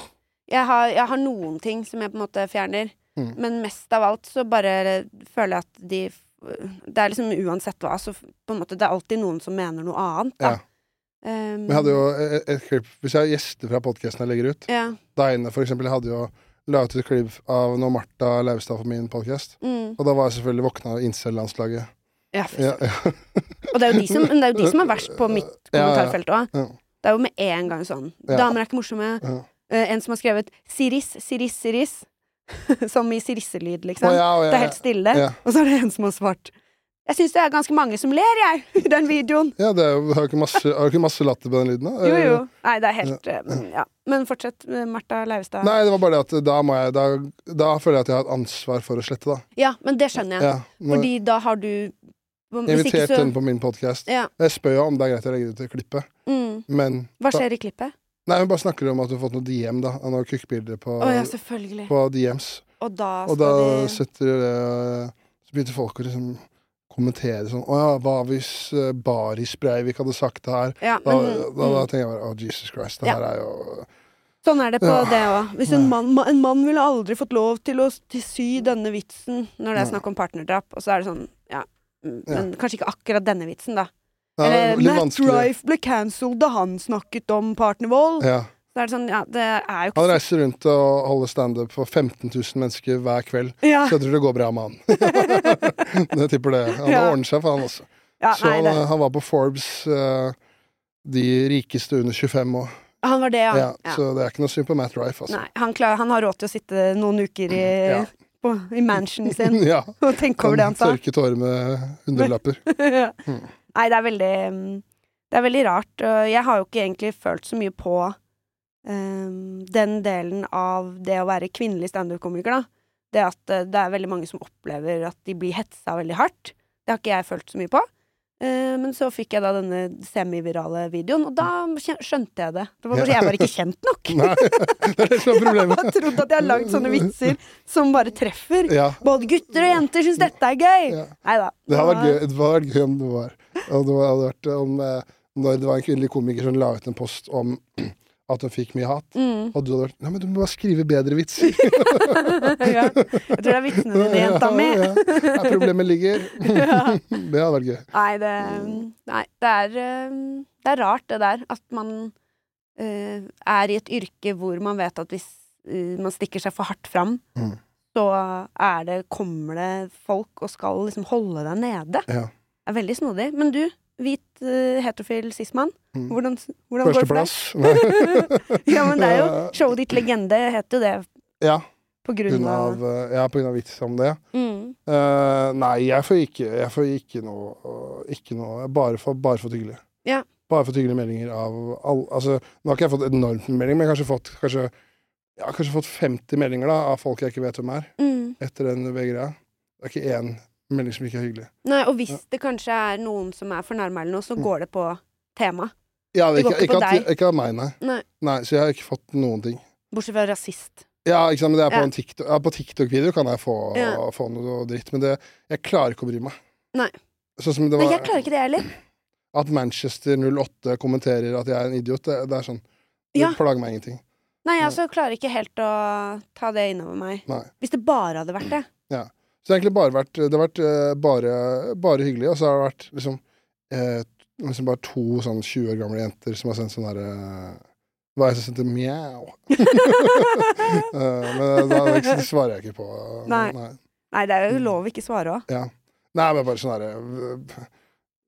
Speaker 1: jeg, har, jeg har noen ting som jeg på en måte fjerner.
Speaker 2: Mm.
Speaker 1: Men mest av alt så bare føler jeg at de Det er liksom uansett hva, så på en måte det er alltid noen som mener noe annet, da.
Speaker 2: Ja.
Speaker 1: Um,
Speaker 2: Men jeg hadde jo et, et klipp Hvis jeg har gjester fra podkasten jeg legger ut
Speaker 1: Ja.
Speaker 2: Da inne, for eksempel, jeg hadde jo la ut et klipp av når Martha Leivstad på min podkast.
Speaker 1: Mm.
Speaker 2: Og da var jeg selvfølgelig våkna av incel-landslaget.
Speaker 1: ja, for
Speaker 2: Ja,
Speaker 1: søren.
Speaker 2: ja,
Speaker 1: Og det er jo de som, men det er jo de som er verst på mitt
Speaker 2: Ja, ja.
Speaker 1: kommentarfelt òg.
Speaker 2: Ja.
Speaker 1: Det er jo med en gang sånn.
Speaker 2: Ja.
Speaker 1: Damer er ikke morsomme.
Speaker 2: ja.
Speaker 1: Eh, en som har skrevet 'Siris, Siris, Siris'. som i sirisselyd, liksom.
Speaker 2: Å, ja, å, ja,
Speaker 1: Det er helt stille.
Speaker 2: Eh, Ja.
Speaker 1: Og så er det en som har svart. Jeg syns det er ganske mange som ler, jeg, i den videoen.
Speaker 2: ja, det er jo har jo ikke masse, har jo ikke masse latter på den lyden, da.
Speaker 1: Jo, jo. Nei, det er helt eh, Ja. Men fortsett, eh, Martha Leivestad.
Speaker 2: Nei, det var bare det at da, må jeg, da, da føler jeg at jeg har et ansvar for å slette, da.
Speaker 1: Ja, men det skjønner jeg.
Speaker 2: Ja, nå-
Speaker 1: Fordi da har du Hvis ikke
Speaker 2: invitert
Speaker 1: så
Speaker 2: henne på min podkast.
Speaker 1: Ja.
Speaker 2: Jeg spør jo om det er greit å legge ut det klippet,
Speaker 1: mm.
Speaker 2: men
Speaker 1: Hva skjer i klippet?
Speaker 2: Nei, hun bare snakker om at du har fått noe DM, da. Av noen kukkbilder på,
Speaker 1: Å ja, selvfølgelig.
Speaker 2: på DMs.
Speaker 1: Og da
Speaker 2: Og
Speaker 1: skal
Speaker 2: da
Speaker 1: de
Speaker 2: setter det Så begynte folk å liksom kommentere sånn Å ja, hva hvis eh, Baris Breivik hadde sagt det her?
Speaker 1: ja,
Speaker 2: Da,
Speaker 1: men,
Speaker 2: da, da
Speaker 1: mm.
Speaker 2: tenker jeg bare Å, Jesus Christ, det
Speaker 1: Ja.
Speaker 2: her er jo
Speaker 1: Sånn er det på
Speaker 2: Ja.
Speaker 1: det òg. Hvis en mann, ma- en mann ville aldri fått lov til å s- til sy denne vitsen når det er snakk om partnerdrap, og så er det sånn Ja, mm,
Speaker 2: Ja.
Speaker 1: men kanskje ikke akkurat denne vitsen, da.
Speaker 2: det er
Speaker 1: Eller
Speaker 2: litt
Speaker 1: Matt
Speaker 2: vanskelig.
Speaker 1: Rife ble cancelled da han snakket om partnervold.
Speaker 2: Ja.
Speaker 1: Så er det sånn, ja, det er jo
Speaker 2: Han
Speaker 1: ikke
Speaker 2: reiser rundt og holder standup for 15 000 mennesker hver kveld.
Speaker 1: ja,
Speaker 2: Så jeg tror det går bra med han. jeg tipper det. Han
Speaker 1: Ja.
Speaker 2: ordner seg for han også.
Speaker 1: ja,
Speaker 2: så
Speaker 1: nei,
Speaker 2: han,
Speaker 1: det.
Speaker 2: han var på Forbes, eh, de rikeste under 25 år.
Speaker 1: Han var det, ja.
Speaker 2: Ja,
Speaker 1: ja.
Speaker 2: Så det er ikke noe synd på Matt Rife, altså.
Speaker 1: Nei, han, klar, han har råd til å sitte noen uker i,
Speaker 2: Ja.
Speaker 1: på, i mansionen sin
Speaker 2: ja.
Speaker 1: og tenke over det han sa.
Speaker 2: tørke tårer med hundrelapper.
Speaker 1: Nei, det er veldig mm, Det er veldig rart. og Jeg har jo ikke egentlig følt så mye på ehm, den delen av det å være kvinnelig standup-komiker, da. Det at eh, det er veldig mange som opplever at de blir hetsa veldig hardt. Det har ikke jeg følt så mye på. Eh, men så fikk jeg da denne semivirale videoen, og da kjen- skjønte jeg det. Det var bare, jeg var ikke kjent nok.
Speaker 2: Nei, det er det som er
Speaker 1: Jeg
Speaker 2: problemet.
Speaker 1: har trodd at jeg har lagd sånne vitser som bare treffer.
Speaker 2: Ja,
Speaker 1: Både gutter og jenter syns dette er gøy!
Speaker 2: ja.
Speaker 1: Nei da.
Speaker 2: Det hadde vært gøy, det hadde vært gøy om det var om det hadde vært om, eh, Når det var en kvinnelig komiker som la ut en post om at hun fikk mye hat,
Speaker 1: Mm,
Speaker 2: og du hadde vært Nei, men du må bare skrive bedre vitser.
Speaker 1: ja. Jeg tror det er vitsene dine, jenta mi.
Speaker 2: Ja, ja. Her problemet ligger.
Speaker 1: Ja.
Speaker 2: Det hadde vært gøy.
Speaker 1: Nei, det, nei det, er, um, det er rart, det der. At man eh, er i et yrke hvor man vet at hvis eh, man stikker seg for hardt fram,
Speaker 2: Mm.
Speaker 1: så er det, kommer det folk og skal liksom holde deg nede.
Speaker 2: Ja.
Speaker 1: Det er veldig snodig. Men du, hvit eh, heterofil sistemann,
Speaker 2: Mm.
Speaker 1: hvordan, hvordan går det for deg?
Speaker 2: Førsteplass. Nei,
Speaker 1: Ja, men det er jo
Speaker 2: Ja.
Speaker 1: Showet ditt legende heter jo det
Speaker 2: Ja,
Speaker 1: på grunn
Speaker 2: grunn
Speaker 1: av
Speaker 2: av, eh, ja, på grunn av vitser om det.
Speaker 1: mm.
Speaker 2: Eh, nei, jeg får ikke, jeg får ikke noe, ikke noe Bare for, bare for hyggelig.
Speaker 1: Ja.
Speaker 2: Bare for hyggelige meldinger av all, altså, Nå har ikke jeg fått enormt med meldinger, men jeg har kanskje fått, kanskje, jeg har kanskje fått 50 meldinger da, av folk jeg ikke vet hvem er,
Speaker 1: Mm.
Speaker 2: etter den VG-greia. Det er ikke én melding som ikke er hyggelig.
Speaker 1: Nei, og hvis det kanskje er noen som er fornærma eller noe, så
Speaker 2: Mm.
Speaker 1: går det på tema.
Speaker 2: Ja,
Speaker 1: Det
Speaker 2: ikke,
Speaker 1: går ikke
Speaker 2: ikke,
Speaker 1: på
Speaker 2: at, ikke av meg, nei.
Speaker 1: Nei.
Speaker 2: Så jeg har ikke fått noen ting.
Speaker 1: Bortsett fra rasist.
Speaker 2: Ja, ikke sant, men det er på
Speaker 1: Ja.
Speaker 2: en TikTok, ja, på TikTok-video kan jeg få,
Speaker 1: Ja.
Speaker 2: få noe dritt, men det, jeg klarer ikke å bry meg.
Speaker 1: Nei.
Speaker 2: Sånn som det
Speaker 1: Nei,
Speaker 2: var,
Speaker 1: jeg klarer ikke det, jeg heller.
Speaker 2: At Manchester 08 kommenterer at jeg er en idiot, det, det er sånn Det
Speaker 1: Ja.
Speaker 2: plager meg ingenting.
Speaker 1: Nei, jeg altså, klarer ikke helt å ta det innover meg.
Speaker 2: Nei.
Speaker 1: Hvis det bare hadde vært det.
Speaker 2: Så det har egentlig bare vært, det har vært eh, bare, bare hyggelig, og så har det vært liksom, eh, liksom bare to sånn 20 år gamle jenter som har sendt sånn derre Hva er det som sendte mjau? Eh, men da, det, det svarer jeg ikke på.
Speaker 1: Nei.
Speaker 2: Nei.
Speaker 1: Nei, det er jo lov å ikke svare òg.
Speaker 2: Nei, men bare sånn herre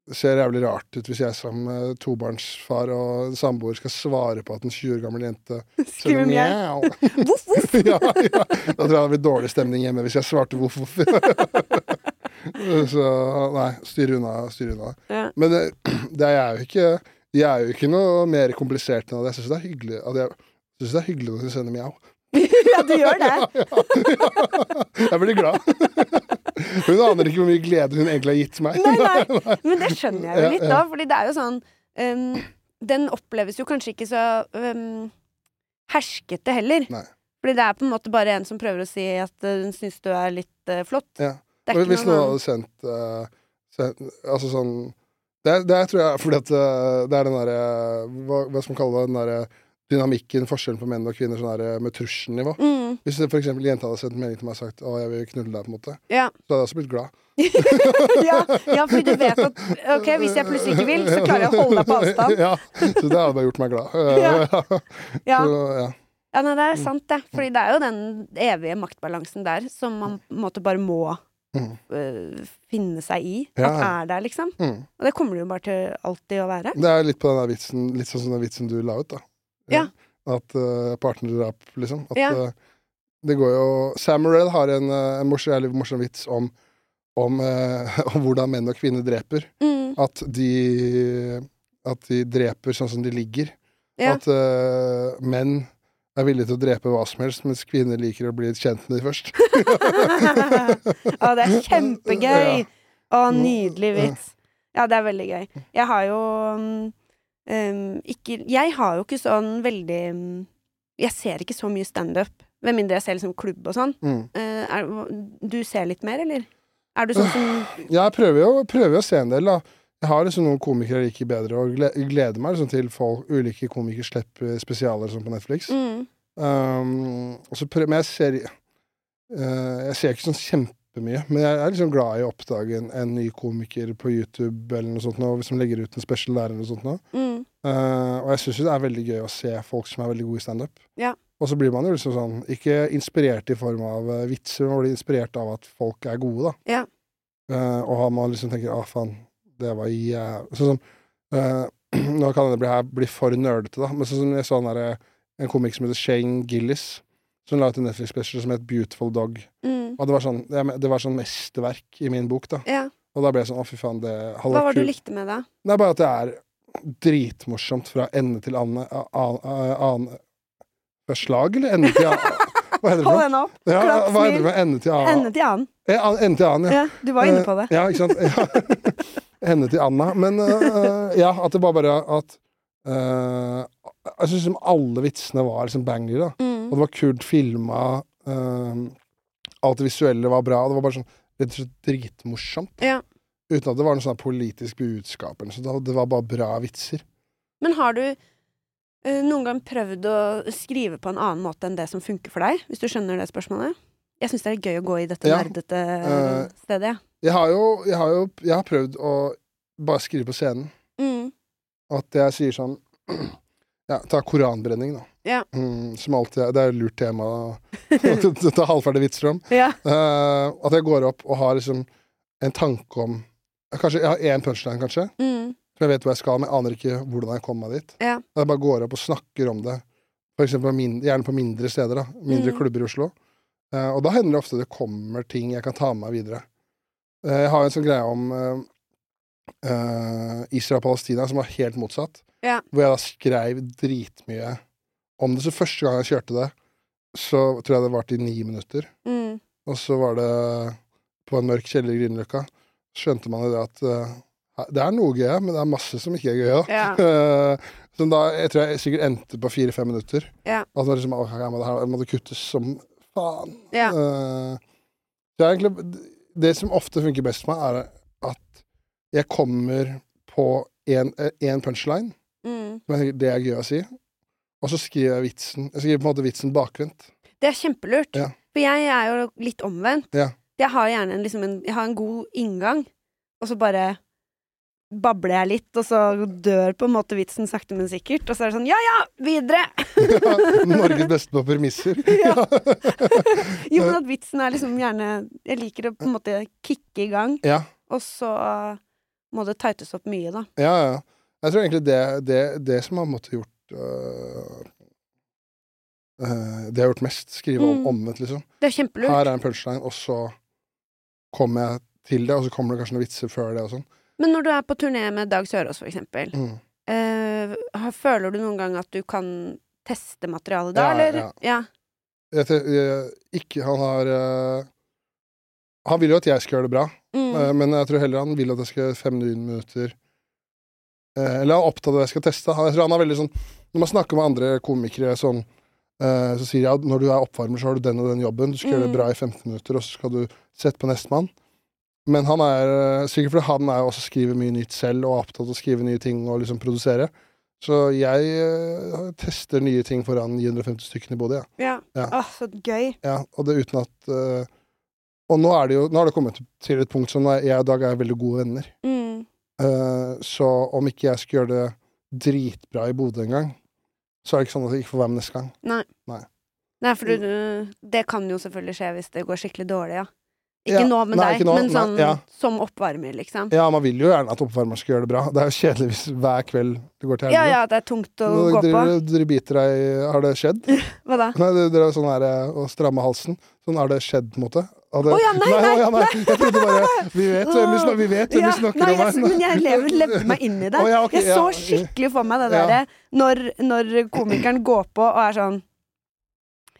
Speaker 2: Det ser jævlig rart ut hvis jeg som eh, tobarnsfar og samboer skal svare på at en 20 år gammel jente
Speaker 1: Skriver mjau. Voff, voff.
Speaker 2: ja, ja. Da tror jeg det blir dårlig stemning hjemme hvis jeg svarte voff, voff. Så nei, styr unna. Styr unna.
Speaker 1: Ja.
Speaker 2: Men det, det er jeg jo ikke Jeg er jo ikke noe mer komplisert enn at jeg syns det er hyggelig at jeg jeg synes det er hyggelig når du sender mjau.
Speaker 1: ja, du gjør det.
Speaker 2: Jeg blir glad. Hun aner ikke hvor mye glede hun egentlig har gitt meg.
Speaker 1: Nei, nei. Men det skjønner jeg jo
Speaker 2: Ja,
Speaker 1: litt,
Speaker 2: ja.
Speaker 1: da. Fordi det er jo sånn ehm, Den oppleves jo kanskje ikke så ehm, herskete heller.
Speaker 2: Nei.
Speaker 1: Fordi det er på en måte bare en som prøver å si at eh, hun syns du er litt eh, flott.
Speaker 2: Ja.
Speaker 1: Det er ikke
Speaker 2: Hvis
Speaker 1: noe
Speaker 2: noen
Speaker 1: sånn-
Speaker 2: hadde sendt, eh, sendt Altså sånn det, er- det er, tror jeg fordi at eh, det er den derre hva, hva skal man kalle det? Den derre dynamikken, forskjellen på menn og kvinner sånn der, med trusselnivå.
Speaker 1: Mm.
Speaker 2: Hvis det for eksempel jenta hadde sendt en melding til meg og sagt 'Å, jeg vil knulle deg', på en måte,
Speaker 1: Ja.
Speaker 2: så hadde jeg også blitt glad.
Speaker 1: ja, ja, fordi du vet at Ok, hvis jeg plutselig ikke vil, så klarer jeg å holde deg på avstand.
Speaker 2: ja, så det hadde bare gjort meg glad. Eh,
Speaker 1: Ja. Ja,
Speaker 2: Så, ja.
Speaker 1: ja nei, det er sant, det. Fordi det er jo den evige maktbalansen der som man på en måte bare må
Speaker 2: Mm.
Speaker 1: øh, finne seg i.
Speaker 2: Ja.
Speaker 1: At er der, liksom.
Speaker 2: Mm.
Speaker 1: Og det kommer det jo bare til alltid å være.
Speaker 2: Det er litt på den der vitsen Litt sånn som den vitsen du la ut, da.
Speaker 1: Ja.
Speaker 2: At eh, partnerdrap, liksom. At
Speaker 1: Ja.
Speaker 2: eh, det går jo Samuel har en, eh, en morsom, jævlig morsom vits om om, eh, om hvordan menn og kvinner dreper.
Speaker 1: Mm,
Speaker 2: At de At de dreper sånn som de ligger.
Speaker 1: Ja.
Speaker 2: At eh, menn er villige til å drepe hva som helst, mens kvinner liker å bli kjent med de først.
Speaker 1: Å, det er kjempegøy!
Speaker 2: Ja.
Speaker 1: Å, nydelig vits. Ja, det er veldig gøy. Jeg har jo mm, em, ikke Jeg har jo ikke sånn veldig mm, Jeg ser ikke så mye standup. Med mindre jeg ser liksom klubb og sånn.
Speaker 2: Mm.
Speaker 1: Eh, er, du ser litt mer, eller? Er du sånn som
Speaker 2: Jeg prøver jo, prøver jo å se en del, da. Jeg har liksom noen komikere jeg liker bedre, og gle- gleder meg liksom til folk, ulike komikere slipper spesialer sånn på Netflix.
Speaker 1: mm,
Speaker 2: Um, og så prøver, men jeg ser eh, Jeg ser ikke sånn kjempemye, men jeg er liksom glad i å oppdage en, en ny komiker på YouTube eller noe sånt nå, som legger ut en special der eller noe sånt nå.
Speaker 1: mm,
Speaker 2: Eh, og jeg syns jo det er veldig gøy å se folk som er veldig gode i standup.
Speaker 1: Ja.
Speaker 2: Og så blir man jo liksom sånn Ikke inspirert i form av eh, vitser, men man blir inspirert av at folk er gode, da.
Speaker 1: Ja.
Speaker 2: Eh, og har man liksom tenker 'Å, faen, det var jævlig Sånn som eh, Nå kan det bli, her, bli for nerdete, da, men sånn som jeg så den derre- en komiker som heter Shane Gillis, som la ut en Netflix-special som het 'Beautiful Dog'.
Speaker 1: mm,
Speaker 2: Og det var sånn, jeg men- det var sånn mesterverk i min bok, da.
Speaker 1: ja.
Speaker 2: Og da ble jeg sånn 'Å, fy faen, det hadde
Speaker 1: Hva
Speaker 2: vært
Speaker 1: var det du
Speaker 2: kult'.
Speaker 1: likte med det?
Speaker 2: Det er bare at det er dritmorsomt fra ende til ande a- a- a- ane- Fra slag, eller ende til a- Hva heter det for
Speaker 1: Hold
Speaker 2: noe?
Speaker 1: henne opp.
Speaker 2: Ja,
Speaker 1: klapp,
Speaker 2: hva heter det
Speaker 1: smil.
Speaker 2: for noe? ende til a-
Speaker 1: Ende til annen.
Speaker 2: Eh, an- Ende til annen, ja.
Speaker 1: Ja, du var inne på det.
Speaker 2: Eh, Ja, ikke sant. Ja. Henne til Anna. Men eh, ja, at det bare bare at eh, Jeg syns liksom alle vitsene var liksom banger, da. Og
Speaker 1: Mm.
Speaker 2: det var kult filma. eh, alt det visuelle var bra. Det var bare sånn rett og slett dritmorsomt.
Speaker 1: Ja.
Speaker 2: Uten at det var noe sånn politisk budskap. eller noe sånt. Det var bare bra vitser.
Speaker 1: Men har du eh, noen gang prøvd å skrive på en annen måte enn det som funker for deg? Hvis du skjønner det spørsmålet? Jeg syns det er gøy å gå i dette
Speaker 2: Ja.
Speaker 1: nerdete
Speaker 2: Eh.
Speaker 1: stedet, jeg.
Speaker 2: Jeg har jo, jeg har jo jeg har prøvd å bare skrive på scenen.
Speaker 1: Mm.
Speaker 2: At jeg sier sånn Ja, ta koranbrenning, da.
Speaker 1: Ja.
Speaker 2: Mm, som alltid er Det er et lurt tema å ta halvferdige vitser om.
Speaker 1: Ja.
Speaker 2: Eh, at jeg går opp og har liksom en tanke om Kanskje Jeg har én punchline, kanskje.
Speaker 1: Mm.
Speaker 2: For jeg vet hvor jeg skal, men jeg aner ikke hvordan jeg kom meg dit.
Speaker 1: Ja.
Speaker 2: Jeg bare går opp og snakker om det, for eksempel på min, gjerne på mindre steder, da. Mindre
Speaker 1: Mm.
Speaker 2: klubber i Oslo. Eh, og da hender det ofte det kommer ting jeg kan ta med meg videre. Eh, jeg har en sånn greie om eh, eh, Israel og Palestina som var helt motsatt,
Speaker 1: Ja.
Speaker 2: hvor jeg da skrev dritmye om det. Så første gang jeg kjørte det, så tror jeg det varte i ni minutter.
Speaker 1: Mm.
Speaker 2: Og så var det på en mørk kjeller i Grünerløkka. Skjønte man jo det at eh, det er noe gøy, men det er masse som ikke er gøy. Da.
Speaker 1: Ja.
Speaker 2: Eh, som da jeg tror jeg sikkert endte på fire-fem minutter.
Speaker 1: Ja.
Speaker 2: At det var liksom, «Åh, jeg må, det her må det kuttes som faen.
Speaker 1: Ja.
Speaker 2: Eh, det, er egentlig, det som ofte funker best for meg, er at jeg kommer på én punchline,
Speaker 1: Mm.
Speaker 2: som jeg tenker det er gøy å si, og så skriver jeg vitsen. Jeg skriver på en måte vitsen bakvendt.
Speaker 1: Det er kjempelurt.
Speaker 2: Ja.
Speaker 1: For jeg er jo litt omvendt.
Speaker 2: Ja.
Speaker 1: Jeg har gjerne en, liksom en, jeg har en god inngang, og så bare babler jeg litt, og så dør på en måte vitsen sakte, men sikkert. Og så er det sånn ja ja, videre!
Speaker 2: Norges beste på premisser.
Speaker 1: Ja. Jo,
Speaker 2: Eh,
Speaker 1: men at vitsen er liksom gjerne Jeg liker å på en måte kicke i gang,
Speaker 2: Ja.
Speaker 1: og så må det tightes opp mye, da.
Speaker 2: Ja, ja. Jeg tror egentlig det, det, det som har måttet gjort øh, øh, Det jeg har gjort mest. Skrive om
Speaker 1: Mm.
Speaker 2: omvendt, liksom.
Speaker 1: Det er kjempelurt.
Speaker 2: Her er en punchline, og så kommer jeg til det, og så kommer det kanskje noen vitser før det og sånn.
Speaker 1: Men når du er på turné med Dag Sørås, for eksempel,
Speaker 2: Mm.
Speaker 1: eh, har- føler du noen gang at du kan teste materialet da,
Speaker 2: Ja,
Speaker 1: eller?
Speaker 2: ja.
Speaker 1: ja.
Speaker 2: Jeg te- jeg- ikke Han har øh, Han vil jo at jeg skal gjøre det bra,
Speaker 1: Mm.
Speaker 2: øh, men jeg tror heller han vil at jeg skal gjøre fem minutter øh, Eller han er opptatt av at jeg skal teste. Han, jeg tror han er veldig sånn Når man snakker med andre komikere sånn Eh, så sier jeg at når du er oppvarmer, så har du den og den jobben. Du skal gjøre det
Speaker 1: Mm.
Speaker 2: bra i 15 minutter, og så skal du sette på nestemann. Men han er eh, sikkert fordi han er jo også skriver mye nytt selv, og er opptatt av å skrive nye ting og liksom produsere. Så jeg eh, tester nye ting foran 950 stykker i Bodø, ja.
Speaker 1: ja.
Speaker 2: Ja.
Speaker 1: Åh, så gøy.
Speaker 2: ja. Og det uten at eh, Og nå er det jo Nå har det kommet til et punkt som jeg og Dag er veldig gode venner.
Speaker 1: Mm.
Speaker 2: Eh, så om ikke jeg skulle gjøre det dritbra i Bodø en gang, så er det ikke sånn at jeg ikke får være med neste gang.
Speaker 1: Nei, for du, du, det kan jo selvfølgelig skje hvis det går skikkelig dårlig, ja. Ikke
Speaker 2: Ja,
Speaker 1: nå med
Speaker 2: nei,
Speaker 1: deg,
Speaker 2: ikke nå,
Speaker 1: men
Speaker 2: nei,
Speaker 1: sånn
Speaker 2: ja.
Speaker 1: som oppvarmer, liksom.
Speaker 2: Ja, man vil jo gjerne at oppvarmeren skal gjøre det bra. Det er jo kjedelig hvis hver kveld det går til
Speaker 1: Ja
Speaker 2: helvete.
Speaker 1: ja, det er tungt å
Speaker 2: Nå
Speaker 1: gå på.
Speaker 2: Dere, dere biter deg i- Har det skjedd?
Speaker 1: Hva da?
Speaker 2: Nei, det- dere er sånn her eh, å stramme halsen. Sånn har det skjedd, på en måte. Å
Speaker 1: Å ja, nei, nei,
Speaker 2: Jeg trodde bare Vi vet hvem vi snakker, vi vet hvem
Speaker 1: Ja,
Speaker 2: vi snakker
Speaker 1: nei,
Speaker 2: om her.
Speaker 1: jeg, men jeg lever, levde meg inn i det.
Speaker 2: Å, ja, ok,
Speaker 1: jeg
Speaker 2: ja.
Speaker 1: så skikkelig for meg det
Speaker 2: Ja.
Speaker 1: derre når, når komikeren går på og er sånn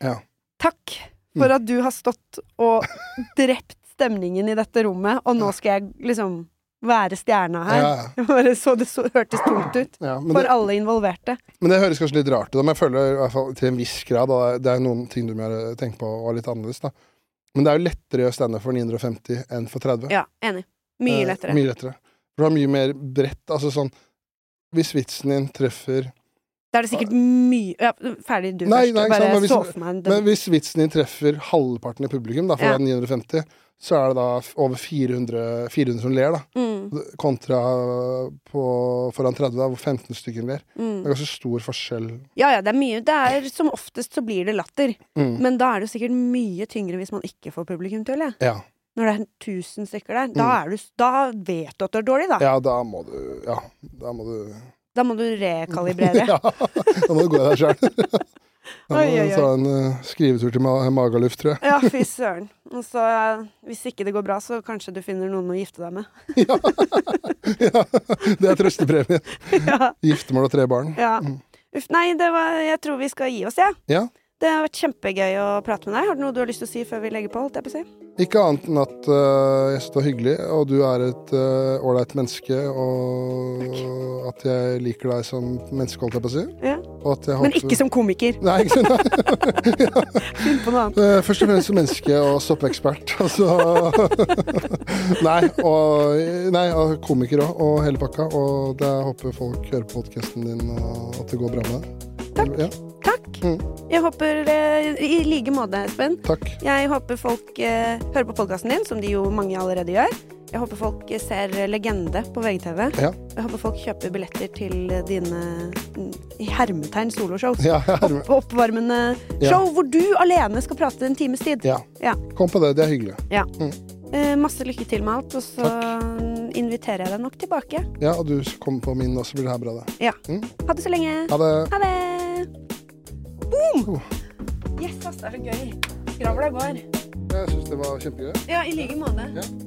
Speaker 2: Ja.
Speaker 1: Takk for at du har stått og drept stemningen i dette rommet, og nå skal jeg liksom være stjerna her.
Speaker 2: Ja,
Speaker 1: Jeg Bare så det så, hørtes tungt ut
Speaker 2: ja, men,
Speaker 1: for
Speaker 2: det,
Speaker 1: alle involverte.
Speaker 2: men det høres kanskje litt rart ut, da, men jeg føler i hvert fall til en viss grad da, Det er noen ting du må gjøre- tenke på og er litt annerledes, da. Men det er jo lettere å gjøre standup for 950 enn for 30.
Speaker 1: Ja, enig. Mye
Speaker 2: Eh,
Speaker 1: lettere.
Speaker 2: Mye lettere. For du har mye mer bredt. Altså sånn Hvis vitsen din treffer
Speaker 1: Da er det sikkert mye ja, Ferdig du
Speaker 2: Nei,
Speaker 1: først.
Speaker 2: nei, ikke
Speaker 1: Bare
Speaker 2: sant, men hvis-
Speaker 1: så for meg en
Speaker 2: Men hvis vitsen din treffer halvparten i publikum, da, for
Speaker 1: Ja.
Speaker 2: det er 950, så er det da f- over 400, 400 som ler, da.
Speaker 1: mm,
Speaker 2: Kontra på, foran 30, da, hvor 15 stykker ler.
Speaker 1: mm.
Speaker 2: Det er ganske stor forskjell.
Speaker 1: Ja ja, det er mye. Det er, som oftest så blir det latter.
Speaker 2: Mm.
Speaker 1: Men da er det jo sikkert mye tyngre hvis man ikke får publikum til, eller?
Speaker 2: Ja. Mm.
Speaker 1: Når det er tusen stykker der. Da, er du, s- da vet du at du er dårlig, da.
Speaker 2: ja, da må du Ja, da må du
Speaker 1: Da må du rekalibrere.
Speaker 2: Ja, da må du gå i deg sjøl. Jeg må
Speaker 1: Oi, oi, oi.
Speaker 2: ta en eh, skrivetur til ma Magaluf, tror jeg.
Speaker 1: Ja, fy søren. Og så, eh, hvis ikke det går bra, så kanskje du finner noen å gifte deg med.
Speaker 2: ja. ja. Det er trøstepremien.
Speaker 1: ja.
Speaker 2: Giftermål og tre barn.
Speaker 1: ja.
Speaker 2: Mm.
Speaker 1: Uff, nei, det var, jeg tror vi skal gi oss, jeg.
Speaker 2: Ja.
Speaker 1: Det har vært kjempegøy å prate med deg. Har du noe du har lyst til å si før vi legger på? holdt jeg på å si?
Speaker 2: Ikke annet enn at eh, jeg synes det var hyggelig, og du er et eh, ålreit menneske, og at jeg liker deg som menneske, holdt jeg på å si.
Speaker 1: Ja.
Speaker 2: Og at jeg
Speaker 1: Men ikke som komiker.
Speaker 2: Nei, ikke sant?
Speaker 1: Finn på noe annet.
Speaker 2: Eh, Først og fremst som menneske og soppeekspert. Altså Nei, og, nei, og komiker òg, og hele pakka. Og det jeg håper folk hører på podkasten din, og at det går bra med deg. Takk. Ja,
Speaker 1: Takk.
Speaker 2: Mm.
Speaker 1: Jeg håper eh, I like måte, Espen.
Speaker 2: takk.
Speaker 1: Jeg håper folk eh, hører på podkasten din, som de jo mange allerede gjør. Jeg håper folk eh, ser eh, Legende på VGTV.
Speaker 2: Ja.
Speaker 1: Jeg håper folk kjøper billetter til eh, dine mm, i hermetegn soloshows.
Speaker 2: Ja, jeg er med.
Speaker 1: Opp- Oppvarmende
Speaker 2: Ja.
Speaker 1: show hvor du alene skal prate en times tid.
Speaker 2: ja.
Speaker 1: Ja.
Speaker 2: Kom på det. Det er hyggelig.
Speaker 1: Eh, masse lykke til med alt, og så mm, inviterer jeg deg nok tilbake.
Speaker 2: Ja, Og du kommer på min, og så blir det her bra, det.
Speaker 1: Ja.
Speaker 2: Mm.
Speaker 1: Ha det så lenge.
Speaker 2: Ha Uh. det.
Speaker 1: Ha det. Boom! Yes, ass, det er så gøy. Skravla går.
Speaker 2: Jeg syns det var kjempegøy.
Speaker 1: Ja, i like måte.
Speaker 2: Ja.